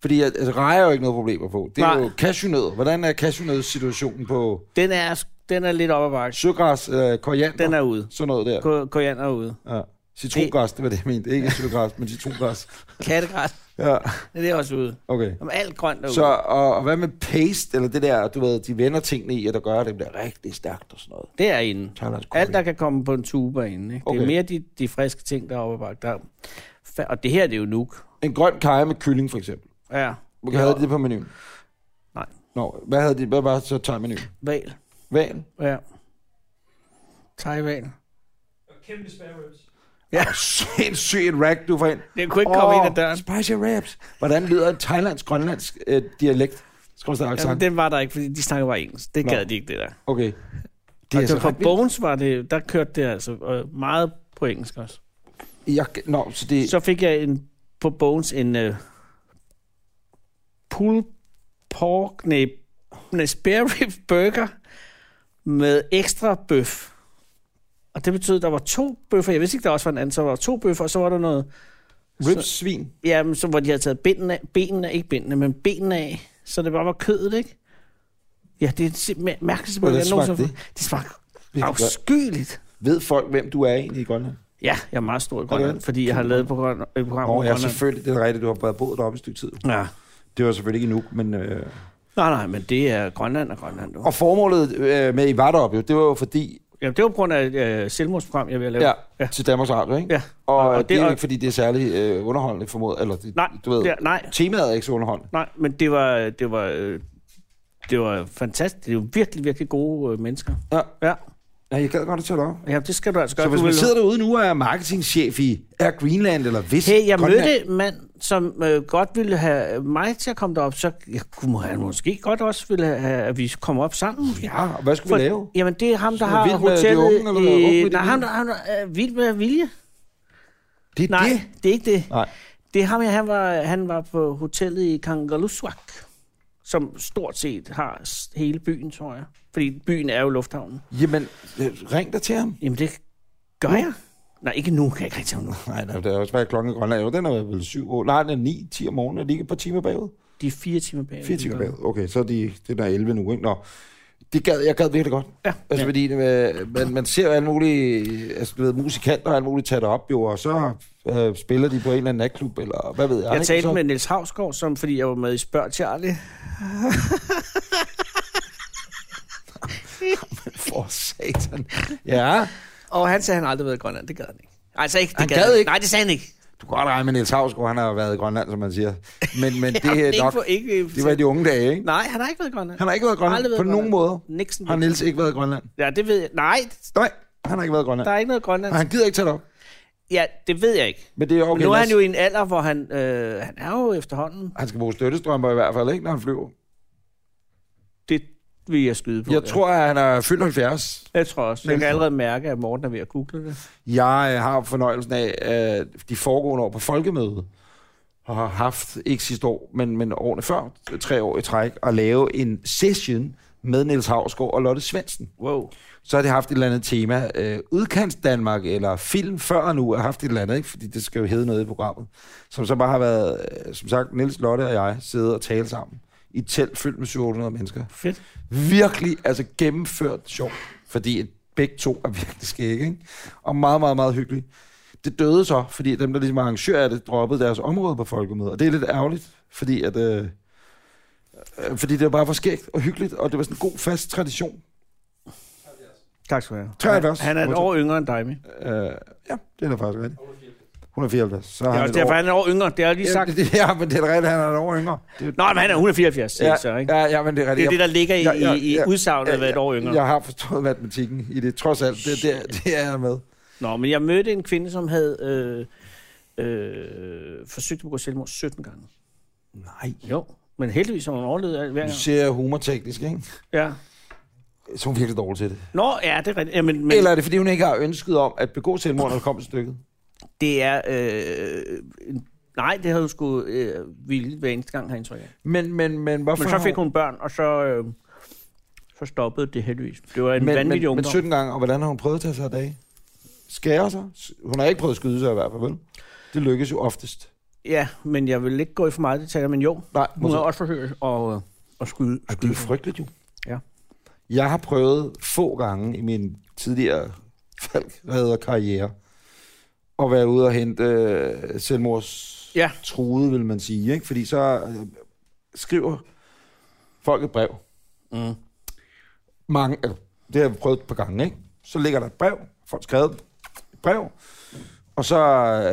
Speaker 3: fordi at, altså, rejer er jo ikke noget problemer på. Det er
Speaker 2: Nej.
Speaker 3: jo cashewnød. Hvordan er cashewnøds situationen på
Speaker 2: Den er, den er lidt op ad bakke.
Speaker 3: søgræs, øh, koriander?
Speaker 2: Den er ude.
Speaker 3: Sådan noget der.
Speaker 2: Ko- Koriander er ude.
Speaker 3: Ja. Citrongræs, det var det, jeg mente. Ikke citrongræs, men citrongræs.
Speaker 2: Kattegræs,
Speaker 3: Ja,
Speaker 2: det er også ude.
Speaker 3: okay.
Speaker 2: Om alt grønt derude.
Speaker 3: Så, og, og hvad med paste, eller det der, du ved, de vender tingene i, og der gør at det bliver rigtig stærkt og sådan noget.
Speaker 2: Det er inde.
Speaker 3: Thailands curry.
Speaker 2: Alt, der kan komme på en tuba inde. Ikke? Okay. Det
Speaker 3: Okay.
Speaker 2: er mere de, de friske ting, der er oppe bag der. Fa- Og det her, det er jo nuk.
Speaker 3: En grøn kaj med kylling, for eksempel.
Speaker 2: Ja.
Speaker 3: Hvor havde de det på menuen?
Speaker 2: Nej.
Speaker 3: Nå, hvad, havde de, hvad var så thai-menuen?
Speaker 2: Val.
Speaker 3: Val?
Speaker 2: Ja. Taiwan.
Speaker 6: Og kæmpe spare ribs.
Speaker 2: Ja.
Speaker 3: Sindssygt en rack, du får ind.
Speaker 2: Det kunne ikke komme ind ad døren.
Speaker 3: Spicy raps. Hvordan lyder en thailands-grønlandsk øh, dialekt? Skal du
Speaker 2: Jamen,
Speaker 3: accent?
Speaker 2: den var der ikke, fordi de snakkede bare engelsk. Det
Speaker 3: Nå.
Speaker 2: gad de ikke, det der.
Speaker 3: Okay.
Speaker 2: Det
Speaker 3: altså
Speaker 2: og for
Speaker 3: ret vildt.
Speaker 2: Bones var det, der kørte det altså øh, meget på engelsk også.
Speaker 3: Jeg, nå, så det...
Speaker 2: Så fik jeg en, på Bones en uh, pulled pork, nej, nej, spare rib burger med ekstra bøf. Og det betød, at der var to bøffer. Jeg vidste ikke, der også var en anden. Så der var to bøffer, og så var der noget...
Speaker 3: Ribs svin.
Speaker 2: Jamen, så, hvor de havde taget benene af. Benene, ikke benene, men benene af. Så det bare var kødet, ikke? Ja, det er simpelthen mærkeligt.
Speaker 3: Hvordan
Speaker 2: jeg nogensinde
Speaker 3: smagte
Speaker 2: har fået. Det smagte
Speaker 3: Virkelig godt.
Speaker 2: afskyeligt.
Speaker 3: Ved folk, hvem du er egentlig i Grønland?
Speaker 2: Ja, jeg er meget stor i Grønland,
Speaker 3: det?
Speaker 2: fordi jeg har lavet på Grønland, et program
Speaker 3: Nå,
Speaker 2: om
Speaker 3: ja,
Speaker 2: Grønland.
Speaker 3: selvfølgelig. Det er rigtigt, du har været boet deroppe et stykke tid.
Speaker 2: Ja.
Speaker 3: Det var selvfølgelig ikke nu, men... Øh...
Speaker 2: Nej, nej, men det er Grønland og Grønland. Du.
Speaker 3: Og formålet øh, med, at I var deroppe, jo, det var jo fordi...
Speaker 2: Jamen, det var på grund af øh, selvmordsprogram, jeg ville lave.
Speaker 3: Ja, ja.
Speaker 2: Ja.
Speaker 3: til Danmarks Radio, ikke?
Speaker 2: Ja.
Speaker 3: Og,
Speaker 2: Og- og
Speaker 3: og
Speaker 2: det-
Speaker 3: det, det er
Speaker 2: og-
Speaker 3: ikke, fordi det er særlig øh, underholdende formodet, eller det,
Speaker 2: Nej,
Speaker 3: du ved,
Speaker 2: det er- nej.
Speaker 3: temaet er ikke så underholdende.
Speaker 2: Nej, men det var, det var, øh, det var fantastisk. Det var virkelig, virkelig gode øh, mennesker.
Speaker 3: Ja.
Speaker 2: Ja.
Speaker 3: ja, jeg gad godt at tage dig op.
Speaker 2: ja, det skal du altså gøre.
Speaker 3: Så hvis
Speaker 2: du
Speaker 3: man
Speaker 2: vil-
Speaker 3: sidder derude nu og er marketingchef i Air Greenland, eller hvis...
Speaker 2: Hey, jeg
Speaker 3: Grønland-
Speaker 2: mødte en mand, som øh, godt ville have mig til at komme derop, så jeg kunne han måske godt også ville have, at vi kom op sammen.
Speaker 3: Ja, og hvad skulle vi lave?
Speaker 2: Jamen, det er ham, der
Speaker 3: er
Speaker 2: har
Speaker 3: vild med de
Speaker 2: hotellet...
Speaker 3: unge, eller hvad? Ung med
Speaker 2: i,
Speaker 3: de
Speaker 2: nej, ham,
Speaker 3: vilde?
Speaker 2: der, ham, der er øh, vild med vilje.
Speaker 3: Det er
Speaker 2: Nej,
Speaker 3: det.
Speaker 2: det, det er ikke det.
Speaker 3: Nej.
Speaker 2: Det er ham, jeg, han, var, han var på hotellet i Kangaluswak, som stort set har s- hele byen, tror jeg. Fordi byen er jo lufthavnen.
Speaker 3: Jamen, øh, ring da til ham.
Speaker 2: Jamen, det gør jeg. Nej, ikke nu. Kan jeg ikke rigtig nu.
Speaker 3: Nej, nej, det er også været klokken i Grønland. Jo, den er vel syv år. Nej, den er ni, ti om morgenen. Er de ikke et par timer bagud?
Speaker 2: De er fire timer bag.
Speaker 3: Fire timer bagud. Okay, så er de, det der 11 nu, ikke? Nå. Det gad, jeg gad virkelig godt.
Speaker 2: Ja.
Speaker 3: Altså,
Speaker 2: ja.
Speaker 3: fordi øh, man, man ser jo alle mulige altså, du ved, musikanter og alle mulige tage det op, jo, og så øh, spiller de på en eller anden natklub, eller hvad ved jeg.
Speaker 2: Jeg
Speaker 3: ikke?
Speaker 2: talte
Speaker 3: så,
Speaker 2: med Niels Havsgaard, som, fordi jeg var med i Spørg Charlie.
Speaker 3: For satan. Ja,
Speaker 2: Og han sagde, at han aldrig været i Grønland. Det gad han ikke. Altså ikke, det
Speaker 3: Han gad ikke?
Speaker 2: Nej, det sagde han ikke.
Speaker 3: du kan godt regne med Niels Havsgaard, han har været i Grønland, som man siger. Men, men det
Speaker 2: Jamen,
Speaker 3: er
Speaker 2: ikke
Speaker 3: nok,
Speaker 2: på- ikke-
Speaker 3: det var i de unge dage, ikke?
Speaker 2: Nej, han har ikke været i Grønland.
Speaker 3: Han har ikke været i Grønland
Speaker 2: Aldrig været
Speaker 3: på
Speaker 2: i
Speaker 3: nogen måde.
Speaker 2: Nixon.
Speaker 3: Har Niels ikke været i Grønland?
Speaker 2: Ja, det ved jeg. Nej,
Speaker 3: Nej, han har ikke været i Grønland.
Speaker 2: der er ikke noget Grønland.
Speaker 3: Og han gider ikke tage det op.
Speaker 2: Ja, det ved jeg ikke.
Speaker 3: Men det er okay.
Speaker 2: Okay, nu er han
Speaker 3: Lars.
Speaker 2: jo i en alder, hvor han, øh, han er jo efterhånden
Speaker 3: Han skal bruge støttestrømper i hvert fald, ikke, når han flyver.
Speaker 2: Det vil jeg skyde på.
Speaker 3: Jeg tror, at han er fyldt 70.
Speaker 2: Jeg tror også. Jeg kan allerede mærke, at Morten er ved at google det.
Speaker 3: Jeg øh, har fornøjelsen af øh, de foregående år på folkemødet, og har haft, ikke sidste år, men, men årene før, tre år i træk, at lave en session med Niels Havsgaard og Lotte Svendsen.
Speaker 2: Wow.
Speaker 3: Så har det haft et eller andet tema. Øh, udkants Danmark eller film før og nu har haft et eller andet, ikke? fordi det skal jo hedde noget i programmet. Som så bare har været, øh, som sagt, Niels, Lotte og jeg sidde og tale sammen i et telt fyldt med 700 mennesker.
Speaker 2: Fedt.
Speaker 3: virkelig altså gennemført sjov, fordi at begge to er virkelig skægge, ikke? og meget, meget, meget hyggelige. Det døde så, fordi dem, der ligesom arrangører af det, droppede deres område på folkemødet, og det er lidt ærgerligt, fordi at... Øh, øh, fordi det var bare for skægt og hyggeligt, og det var sådan en god fast tradition.
Speaker 2: Tak skal du have.
Speaker 3: 73.
Speaker 2: Han er et år yngre end dig, Mie.
Speaker 3: Øh, ja, det er da faktisk rigtigt. 174. Så er
Speaker 2: Det er
Speaker 3: han
Speaker 2: også
Speaker 3: et
Speaker 2: derfor,
Speaker 3: år.
Speaker 2: han er et år yngre. Det har jeg lige sagt.
Speaker 3: Ja, det, ja, men det er da rigtigt, han er et år yngre. Det,
Speaker 2: Nå, men han er 174, ja,
Speaker 3: ja,
Speaker 2: så, ikke?
Speaker 3: ja, ja, men det er rigtigt.
Speaker 2: Det er jo det, der ligger i,
Speaker 3: Ja, ja,
Speaker 2: i, i
Speaker 3: ja.
Speaker 2: udsagnet at være et år
Speaker 3: jeg,
Speaker 2: yngre.
Speaker 3: jeg har forstået matematikken i det, trods alt. Det, det, det er jeg med.
Speaker 2: Nå, men jeg mødte en kvinde, som havde øh, øh, forsøgt at begå selvmord 17 gange.
Speaker 3: Nej.
Speaker 2: Jo, men heldigvis har hun overlevet alt hver
Speaker 3: Nu
Speaker 2: gang.
Speaker 3: ser jeg humorteknisk, ikke?
Speaker 2: Ja.
Speaker 3: Så er hun virkelig dårlig til det.
Speaker 2: Nå, ja, det er rigtigt. Jamen, men
Speaker 3: Eller er det, fordi hun ikke har ønsket om at begå selvmord, når det kom til stykket?
Speaker 2: det er... Øh, nej, det havde hun sgu øh, ville hver eneste gang, har jeg indtryk af.
Speaker 3: Men, men, men hvorfor
Speaker 2: Men så
Speaker 3: har
Speaker 2: fik hun børn, og så, øh, så stoppede det heldigvis. Det var en men,
Speaker 3: Men, men,
Speaker 2: vanvittig
Speaker 3: men
Speaker 2: ungdom.
Speaker 3: 17 gange, og hvordan har hun prøvet at tage sig af dage? Skærer sig? Hun har ikke prøvet at skyde sig i hvert fald, vel? Det lykkes jo oftest.
Speaker 2: Ja, men jeg vil ikke gå i for meget detaljer, men jo,
Speaker 3: Nej,
Speaker 2: hun har
Speaker 3: måske-
Speaker 2: også forsøgt at, øh, at skyde.
Speaker 3: Ej, det er frygteligt jo.
Speaker 2: Ja.
Speaker 3: Jeg har prøvet få gange i min tidligere falkrederkarriere at være ude og hente øh, selvmords
Speaker 2: Ja.
Speaker 3: trude, vil man sige. Ikke? Fordi så øh, skriver folk et brev.
Speaker 2: Mm.
Speaker 3: Mange, altså, det har jeg prøvet et par gange. Ikke? Så ligger der et brev, folk har skrevet et brev, og så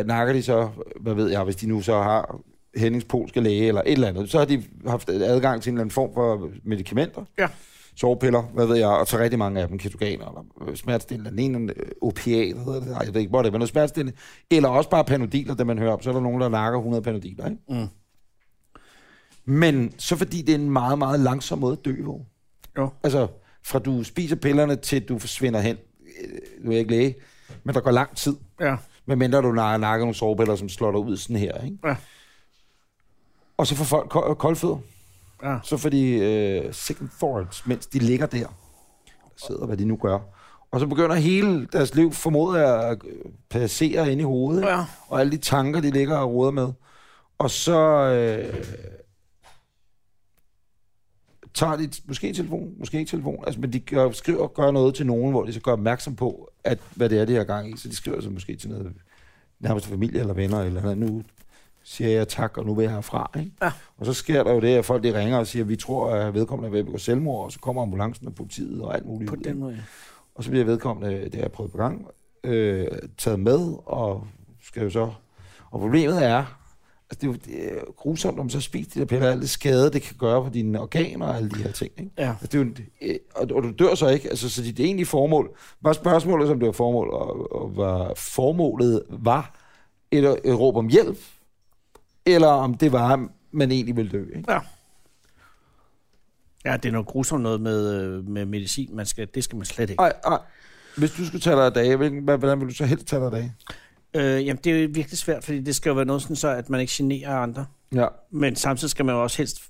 Speaker 3: øh, nakker de så, hvad ved jeg, hvis de nu så har Hennings polske læge eller et eller andet, så har de haft adgang til en eller anden form for medicamenter
Speaker 2: Ja.
Speaker 3: sovepiller, hvad ved jeg, og så rigtig mange af dem, ketogener, eller øh, smertestillende, den ene øh, opiat, hedder det, Ej, jeg ved ikke, hvor det er, men noget smertestillende, eller også bare panodiler, det man hører om, så er der nogen, der nakker 100 panodiler, ikke?
Speaker 2: Mm.
Speaker 3: Men så fordi det er en meget, meget langsom måde at dø på.
Speaker 2: Jo.
Speaker 3: Altså, fra du spiser pillerne, til du forsvinder hen, øh, nu er jeg ikke læge, men der går lang tid,
Speaker 2: Ja.
Speaker 3: medmindre du nakker, nakker nogle sovepiller, som slår dig ud sådan her, ikke?
Speaker 2: Ja.
Speaker 3: Og så får folk ko- koldfødder.
Speaker 2: Ja.
Speaker 3: Så får de øh, second thoughts, mens de ligger der. Sidder, hvad de nu gør. Og så begynder hele deres liv, formoder jeg, at øh, passere ind i hovedet. ikke?
Speaker 2: Ja.
Speaker 3: Og alle de tanker, de ligger og roder med. Og så øh, tager de t- måske telefon, måske ikke telefon. Altså, men de gør, skriver og gør noget til nogen, hvor de så gør opmærksom på, at, hvad det er, de har gang i. Så de skriver så måske til noget nærmeste familie eller venner eller noget. Nu siger jeg tak, og nu vil jeg herfra. Ikke?
Speaker 2: Ja.
Speaker 3: Og så sker der jo det, at folk de ringer og siger, vi tror, at vedkommende er ved at begå selvmord, og så kommer ambulancen og politiet og alt muligt.
Speaker 2: På
Speaker 3: ud,
Speaker 2: den
Speaker 3: ikke?
Speaker 2: måde.
Speaker 3: Og så bliver vedkommende, det har jeg prøvet på gang, øh, taget med, og skal jo så... Og problemet er, altså det er, jo, det er grusomt, om så spiser de der piller, alt det skade, det kan gøre på dine organer og alle de her ting. Ikke?
Speaker 2: Ja.
Speaker 3: Altså, det er jo, en- øh, og, og du dør så ikke, altså, så dit egentlige formål, var spørgsmålet, som det var formål, og, og var formålet var et, et råb om hjælp, eller om det var, man egentlig ville dø. Ikke?
Speaker 2: Ja. Ja, det er noget grusomt noget med, øh, med medicin. Man skal, det skal man slet ikke.
Speaker 3: Ej, ej. Hvis du skulle tage dig af dage, hvilken, hvad- hvordan ville du så helst tage dig af dage?
Speaker 2: Øh, jamen, det er jo virkelig svært, fordi det skal jo være noget sådan så, at man ikke generer andre.
Speaker 3: Ja.
Speaker 2: Men samtidig skal man jo også helst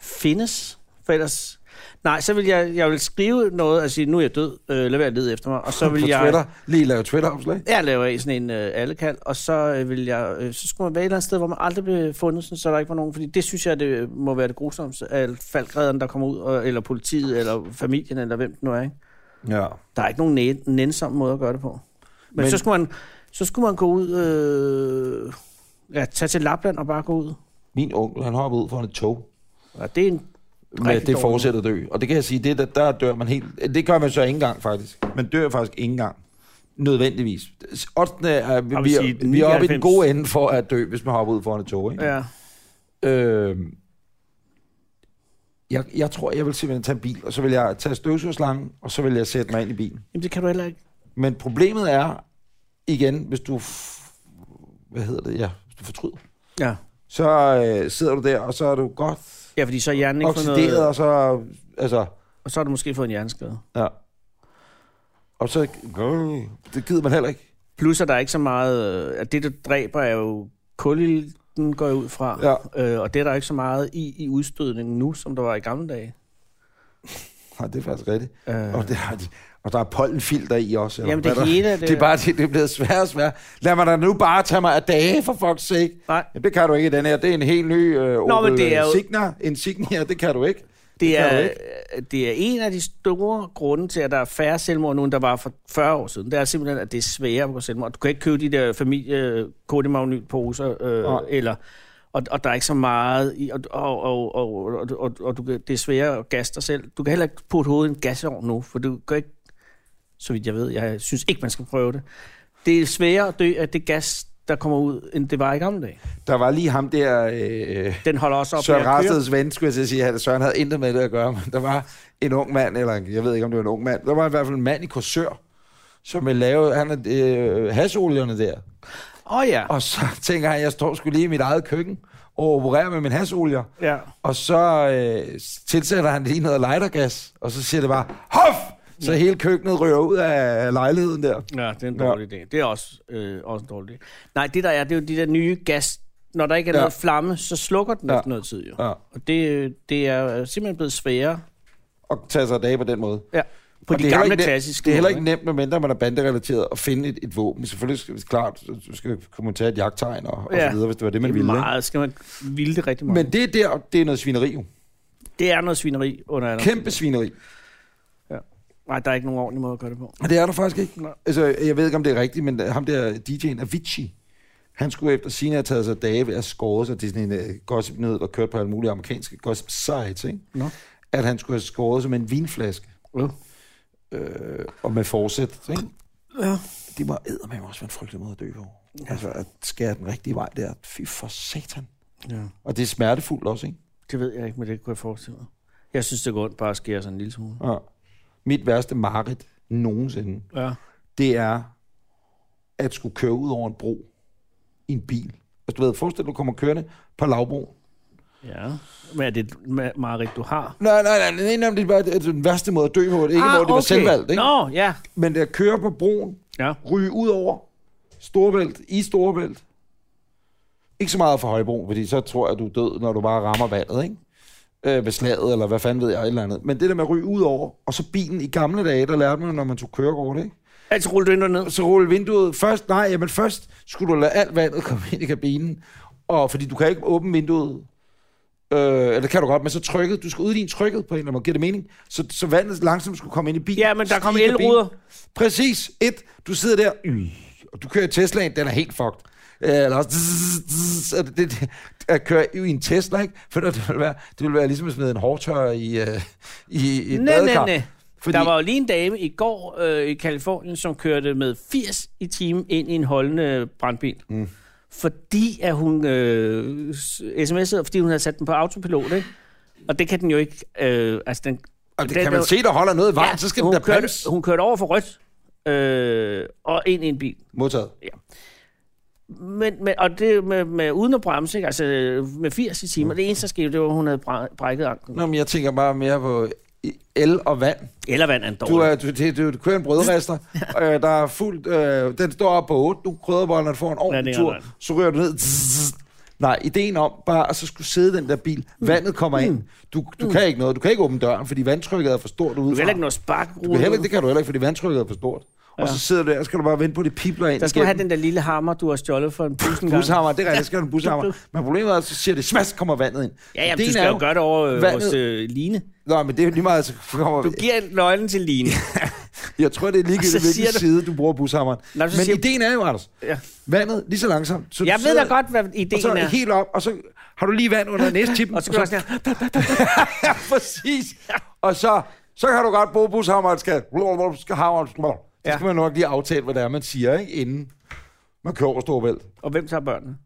Speaker 2: findes, for ellers... Nej, så vil jeg, jeg vil skrive noget og sige, nu er jeg død, øh, lad være at lede efter mig, og så vil
Speaker 3: på
Speaker 2: jeg...
Speaker 3: Twitter. Lige lave Twitter-opslag.
Speaker 2: Jeg laver af sådan en øh, allekald, og så øh, vil jeg, øh, så skulle man være et eller andet sted, hvor man aldrig blev fundet, sådan, så der ikke var nogen, fordi det synes jeg, det må være det grusomste, at faldgræderne, der kommer ud, og, eller politiet, eller familien, eller hvem det nu er, ikke?
Speaker 3: Ja.
Speaker 2: Der er ikke nogen næ- nænsom måde at gøre det på. Men,
Speaker 3: Men-
Speaker 2: Men så, skulle man, så skulle man gå ud, øh, ja, tage til Lapland og bare gå ud.
Speaker 3: Min onkel, han hopper ud foran et tog
Speaker 2: Ja, det er en
Speaker 3: med
Speaker 2: Rigtig
Speaker 3: det
Speaker 2: dårligt.
Speaker 3: fortsætter at dø. Og det kan jeg sige, det, der, der dør man helt... Det gør man så ikke engang, faktisk. Man dør faktisk ikke engang. Nødvendigvis. Oddsene er, vi,
Speaker 2: vil
Speaker 3: vi,
Speaker 2: sige,
Speaker 3: er, vi er oppe i den
Speaker 2: 99.
Speaker 3: gode ende for at dø, hvis man hopper ud foran et tog. Ikke?
Speaker 2: Ja.
Speaker 3: Øhm, jeg, jeg tror, jeg vil simpelthen tage en bil, og så vil jeg tage støvsugerslangen, og så vil jeg sætte mig ind i bilen.
Speaker 2: Jamen, det kan du heller ikke.
Speaker 3: Men problemet er, igen, hvis du... f- Hvad hedder det? Ja, hvis du fortryder.
Speaker 2: Ja.
Speaker 3: Så øh, sidder du der, og så er du godt
Speaker 2: Ja, fordi så er hjernen ikke fået
Speaker 3: oxideret,
Speaker 2: noget,
Speaker 3: og så... Altså,
Speaker 2: og så har du måske fået en hjerneskade.
Speaker 3: ja. Og så... Øh, det gider man heller ikke.
Speaker 2: Plus, at der er ikke så meget... øh, At det, du dræber, er jo kulilden, går jeg ud fra.
Speaker 3: Ja.
Speaker 2: Øh, og det er der ikke så meget i, i udstødningen nu, som der var i gamle dage.
Speaker 3: Nej, det er faktisk rigtigt.
Speaker 2: Øh.
Speaker 3: Og, det har de, og der er pollenfilter i også. eller
Speaker 2: Jamen,
Speaker 3: hvad
Speaker 2: det
Speaker 3: der,
Speaker 2: hele er
Speaker 3: det,
Speaker 2: det-
Speaker 3: det er bare det, det er blevet sværere og sværere. Lad mig da nu bare tage mig af dage, for fuck's sake.
Speaker 2: Nej.
Speaker 3: Jamen, det kan du ikke, i den her. Det er en helt ny øh, Opel Nå, men det er jo... Signa. En Signa, det kan du ikke.
Speaker 2: Det
Speaker 3: kan du
Speaker 2: er, øh, det er en af de store grunde til, at der er færre selvmord nu, end der var for 40 år siden. Det er simpelthen, at det er sværere at gå selvmord. Du kan ikke købe de der familie kodemagnetposer,
Speaker 3: Nej.
Speaker 2: øh, eller, og, og der er ikke så meget i, og, og, og, og, og, og, og du, kan- det er sværere at gasse dig selv. Du kan heller ikke putte hovedet i en gasovn nu, for du kan ikke, så vidt jeg ved, jeg synes ikke, man skal prøve det. Det er sværere at dø af det gas, der kommer ud, end det var i gamle dage.
Speaker 3: Der var lige ham der... Øh,
Speaker 2: Den holder også op
Speaker 3: Søren
Speaker 2: med at køre.
Speaker 3: Rasteds ven, skulle jeg til at sige, at Søren havde intet med det at gøre, men der var en ung mand, eller jeg ved ikke, om det var en ung mand, der var i hvert fald en mand i Korsør, som ville lave, han er øh, hasolierne der.
Speaker 2: Åh oh, ja.
Speaker 3: Og så tænker han, jeg står skulle lige i mit eget køkken og opererer med min hasolier.
Speaker 2: ja.
Speaker 3: Og så øh, tilsætter han lige noget lightergas, og så siger det bare, hof! Så hele køkkenet ryger ud af lejligheden der.
Speaker 2: Ja, det er en dårlig idé. Det er også, øh, også en dårlig idé. Nej, det der er, det er jo de der nye gas. Når der ikke er
Speaker 3: Ja.
Speaker 2: ja. noget flamme, så slukker den
Speaker 3: Ja.
Speaker 2: ja. efter noget tid jo.
Speaker 3: Ja.
Speaker 2: Og det, øh, det er øh, simpelthen blevet sværere
Speaker 3: Og tager sig af dage på den måde.
Speaker 2: ja. på
Speaker 3: Og
Speaker 2: de
Speaker 3: det er heller
Speaker 2: gamle
Speaker 3: ikke nemt-
Speaker 2: klassiske.
Speaker 3: Det er heller
Speaker 2: måder,
Speaker 3: ikke nemt, medmindre man er banderelateret, at finde et, et våben. Selvfølgelig skal det klart, så så skal man tage et jagttegn og, og så
Speaker 2: Ja.
Speaker 3: videre, hvis det var det, man
Speaker 2: det er
Speaker 3: ville. ikke?
Speaker 2: meget, skal man ville det rigtig meget.
Speaker 3: Men det der, det er noget svineri jo.
Speaker 2: det er noget svineri under andre.
Speaker 3: Kæmpe svineri.
Speaker 2: Ja. Nej, der er ikke nogen ordentlig måde at gøre det på.
Speaker 3: Og det er der faktisk ikke.
Speaker 2: Nej.
Speaker 3: Altså, jeg ved ikke, om det er rigtigt, men ham der DJ'en Avicii, han skulle efter sine have taget sig dage ved at score sig til sådan en uh, gossip ned og kørt på alle mulige amerikanske gossip sites, ikke?
Speaker 2: Nå.
Speaker 3: At han skulle have skåret som en vinflaske.
Speaker 2: Uh.
Speaker 3: Øh, og med forsæt, ikke?
Speaker 2: Ja.
Speaker 3: Det var eddermame også være en frygtelig måde at dø på. Ja. Altså, at skære den rigtige vej, det er, fy for satan.
Speaker 2: ja.
Speaker 3: Og det er smertefuldt også, ikke?
Speaker 2: Det ved jeg ikke, men det kunne jeg forestille mig. Jeg synes, det går ondt bare at skære sådan en lille smule.
Speaker 3: Ja. Mit værste mareridt nogensinde,
Speaker 2: Ja.
Speaker 3: det er at skulle køre ud over en bro i en bil. Altså, du ved, forestil dig, du kommer kørende på lavbro.
Speaker 2: Ja. Men er det et ma- mareridt, du har?
Speaker 3: Nej, nej, nej, nej, nej, det er bare det er den værste måde at dø på. Det er ikke, ah, hvor det okay. var selvvalgt, ikke?
Speaker 2: Nå,
Speaker 3: No.
Speaker 2: ja.
Speaker 3: Men at køre på broen,
Speaker 2: Ja.
Speaker 3: ryge ud over Storvælt, i Storvælt. Ikke så meget for Højbro, fordi så tror jeg, du er død, når du bare rammer vandet, ikke? Øh, ved slaget, eller hvad fanden ved jeg, et eller andet. Men det der med at ryge ud over, og så bilen i gamle dage, der lærte man, når man tog kørekort, ikke?
Speaker 2: Altså rulle du ind og ned.
Speaker 3: så rulle vinduet først. Nej, jamen først skulle du lade alt vandet komme ind i kabinen. Og fordi du kan ikke åbne vinduet. Øh, eller det kan du godt, men så trykket. Du skal udligne trykket på en eller anden måde. Giver det mening? Så, så vandet langsomt skulle komme ind i bilen.
Speaker 2: Ja, men der
Speaker 3: stige
Speaker 2: kom
Speaker 3: i kabinen.
Speaker 2: elruder.
Speaker 3: Præcis. Et, du sidder der. Øh, og du kører i Teslaen, den er helt fucked. Øh, Eller også, zzz, zzz, og det, det, at køre i en Tesla, ikke? For det ville være, det ville være ligesom at smide en hårdtørrer i, øh, i, i et
Speaker 2: Nej, nej,
Speaker 3: badekar.
Speaker 2: nej. Fordi... Der var jo lige en dame i går øh, i Kalifornien, som kørte med 80 i timen ind i en holdende brandbil. Mm. Fordi at hun øh, s- sms'ede, fordi hun havde sat den på autopilot, ikke? Og det kan den jo ikke... Øh, altså den,
Speaker 3: Og det,
Speaker 2: den-
Speaker 3: kan man
Speaker 2: den-
Speaker 3: se, der holder noget i vejen, ja, så skal den
Speaker 2: hun,
Speaker 3: der
Speaker 2: kørte,
Speaker 3: bremse.
Speaker 2: hun kørte over for rødt øh, og ind i en bil.
Speaker 3: Modtaget.
Speaker 2: Men, men, og det med, med uden at bremse, ikke? altså med 80 i timen, det eneste, der skete, det var, at hun havde bræ- brækket anklen.
Speaker 3: Nå, men jeg tænker bare mere på i- el og vand.
Speaker 2: Eller vand er en dårlig.
Speaker 3: Du, er, du, det- du, du kører en brødrester, øh, der er fuldt... Øh, den står op på 8, du krydderbollerne får en
Speaker 2: Ja,
Speaker 3: ordentlig
Speaker 2: det er
Speaker 3: tur,
Speaker 2: ret.
Speaker 3: så rører du ned. Zzz. Nej, ideen om bare at så skulle sidde i den der bil,
Speaker 2: Mm.
Speaker 3: vandet kommer ind, du, du kan ikke noget, du kan ikke åbne døren, fordi vandtrykket er for stort
Speaker 2: Du
Speaker 3: udefra.
Speaker 2: kan heller ikke nå at sparke
Speaker 3: Du kan heller ikke, det kan du heller ikke, fordi vandtrykket er for stort. Og så sidder du der, og skal du bare vente på, at det pipler ind.
Speaker 2: Der skal du have
Speaker 3: igennem.
Speaker 2: den der lille hammer, du har stjålet for en tusind gang.
Speaker 3: bushammer, det er rigtigt, skal du have en bushammer. Men problemet er, at så siger det, smask kommer vandet ind.
Speaker 2: Ja, jamen,
Speaker 3: Ideen
Speaker 2: du skal
Speaker 3: er
Speaker 2: jo gøre det over øh,
Speaker 3: vandet-
Speaker 2: hos øh, Line.
Speaker 3: Nå, men det er jo lige meget, så kommer...
Speaker 2: Du giver nøglen til Line.
Speaker 3: Jeg tror, det er
Speaker 2: Og
Speaker 3: ligegyldigt,
Speaker 2: så siger
Speaker 3: hvilken
Speaker 2: du-
Speaker 3: side du bruger bushammeren.
Speaker 2: Nå,
Speaker 3: Men
Speaker 2: så siger-
Speaker 3: ideen er jo, Anders,
Speaker 2: Ja.
Speaker 3: vandet lige så langsomt. Så du
Speaker 2: Jeg ved
Speaker 3: sidder-
Speaker 2: da godt, hvad
Speaker 3: og så
Speaker 2: ideen er.
Speaker 3: helt op, og så har du lige vand under næstippen.
Speaker 2: Og så gør jeg sådan her.
Speaker 3: ja, præcis. Og så, så kan du godt bruge bushammeren, skal, skal hammeren, så
Speaker 2: Ja.
Speaker 3: skal man nok lige aftale, hvad det er, man siger, ikke? inden man kører over Storebælt.
Speaker 2: Og hvem tager børnene?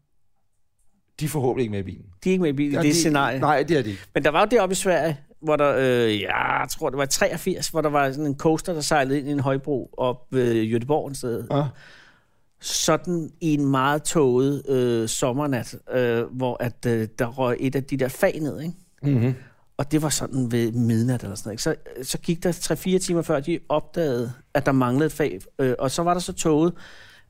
Speaker 3: De er forhåbentlig ikke med i bilen.
Speaker 2: De er ikke med i bilen i
Speaker 3: Ja,
Speaker 2: det
Speaker 3: de-
Speaker 2: scenarie.
Speaker 3: Nej, det er de ikke.
Speaker 2: Men der var jo deroppe i Sverige, hvor der, øh, ja, jeg tror det var 83, hvor der var sådan en coaster, der sejlede ind i en højbro op ved Göteborg et sted.
Speaker 3: Ja.
Speaker 2: Sådan i en meget tåget øh, sommernat, øh, hvor at, øh, der røg et af de der fag ned, ikke?
Speaker 3: Mm-hmm.
Speaker 2: Og det var sådan ved midnat eller sådan noget. ikke? Så, så gik der 3-4 timer før, de opdagede, at der manglede et fag. Øh, og så var der så toget,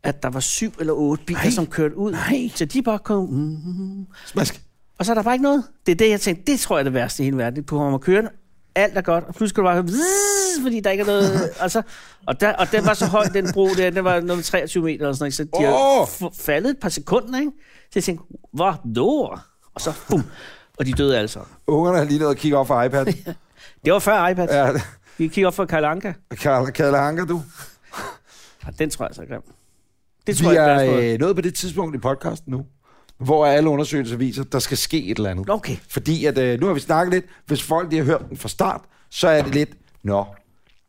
Speaker 2: at der var syv eller otte biler,
Speaker 3: Nej.
Speaker 2: nej, som kørte ud. Nej. Så de bare kom... Mm-hmm.
Speaker 3: Smask.
Speaker 2: Og så er der bare ikke noget. Det er det, jeg tænkte, det tror jeg er det værste i hele verden. Det kommer kørende, alt er godt, og pludselig skal du bare høre, "Vzz", fordi der ikke er noget... og, så, og, der, og den var så høj, den bro der, den var noget med 23 meter eller sådan noget, ikke? så de har
Speaker 3: Åh!
Speaker 2: f- faldet et par sekunder, ikke? Så jeg tænkte, hvor dår? Og så, bum, og de døde altså.
Speaker 3: Ungerne har lige nået at kigge op for iPad.
Speaker 2: Det var før iPad. Ja.
Speaker 3: ja,
Speaker 2: Vi kigger op for Karl Anka.
Speaker 3: Karl, Karl Anker, du.
Speaker 2: Ja, den tror jeg altså er grim. Det tror
Speaker 3: Vi
Speaker 2: jeg, jeg
Speaker 3: er øh, nået på det tidspunkt i podcasten nu, hvor alle undersøgelser viser, at der skal ske et eller andet.
Speaker 2: Okay.
Speaker 3: Fordi at, øh, nu har vi snakket lidt. Hvis folk lige har hørt den fra start, så er det lidt, nå,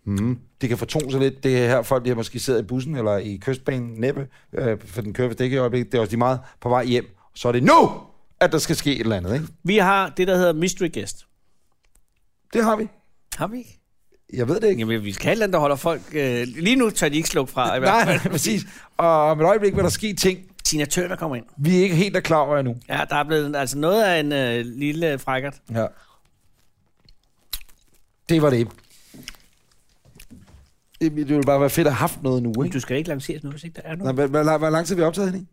Speaker 3: mm, det kan fortone sig lidt. Det er her folk, de har måske siddet i bussen eller i kystbanen, næppe, øh, for den kører vist ikke i øjeblikket. Det er også lige meget på vej hjem. Så er det nu, at der skal ske et eller andet. Ikke?
Speaker 2: Vi har det, der hedder Mystery Guest.
Speaker 3: Det har vi.
Speaker 2: Har vi ikke?
Speaker 3: Jeg ved det ikke.
Speaker 2: Jamen, vi skal have et eller andet, der holder folk... Øh, lige nu tør de ikke slukke fra. i hvert fald.
Speaker 3: Nej, præcis. Og om et øjeblik vil der ske ting,
Speaker 2: Tina Turner kommer ind.
Speaker 3: vi er ikke helt er klar over endnu.
Speaker 2: Ja, der er blevet altså noget af en øh, lille frækkert.
Speaker 3: Ja. Det var det. Det det ville bare være fedt at have haft noget nu, ikke?
Speaker 2: Du skal ikke lancere noget, hvis ikke der er
Speaker 3: Nå,
Speaker 2: noget.
Speaker 3: Hvor hvor- hvor lang tid har vi optaget, Henning?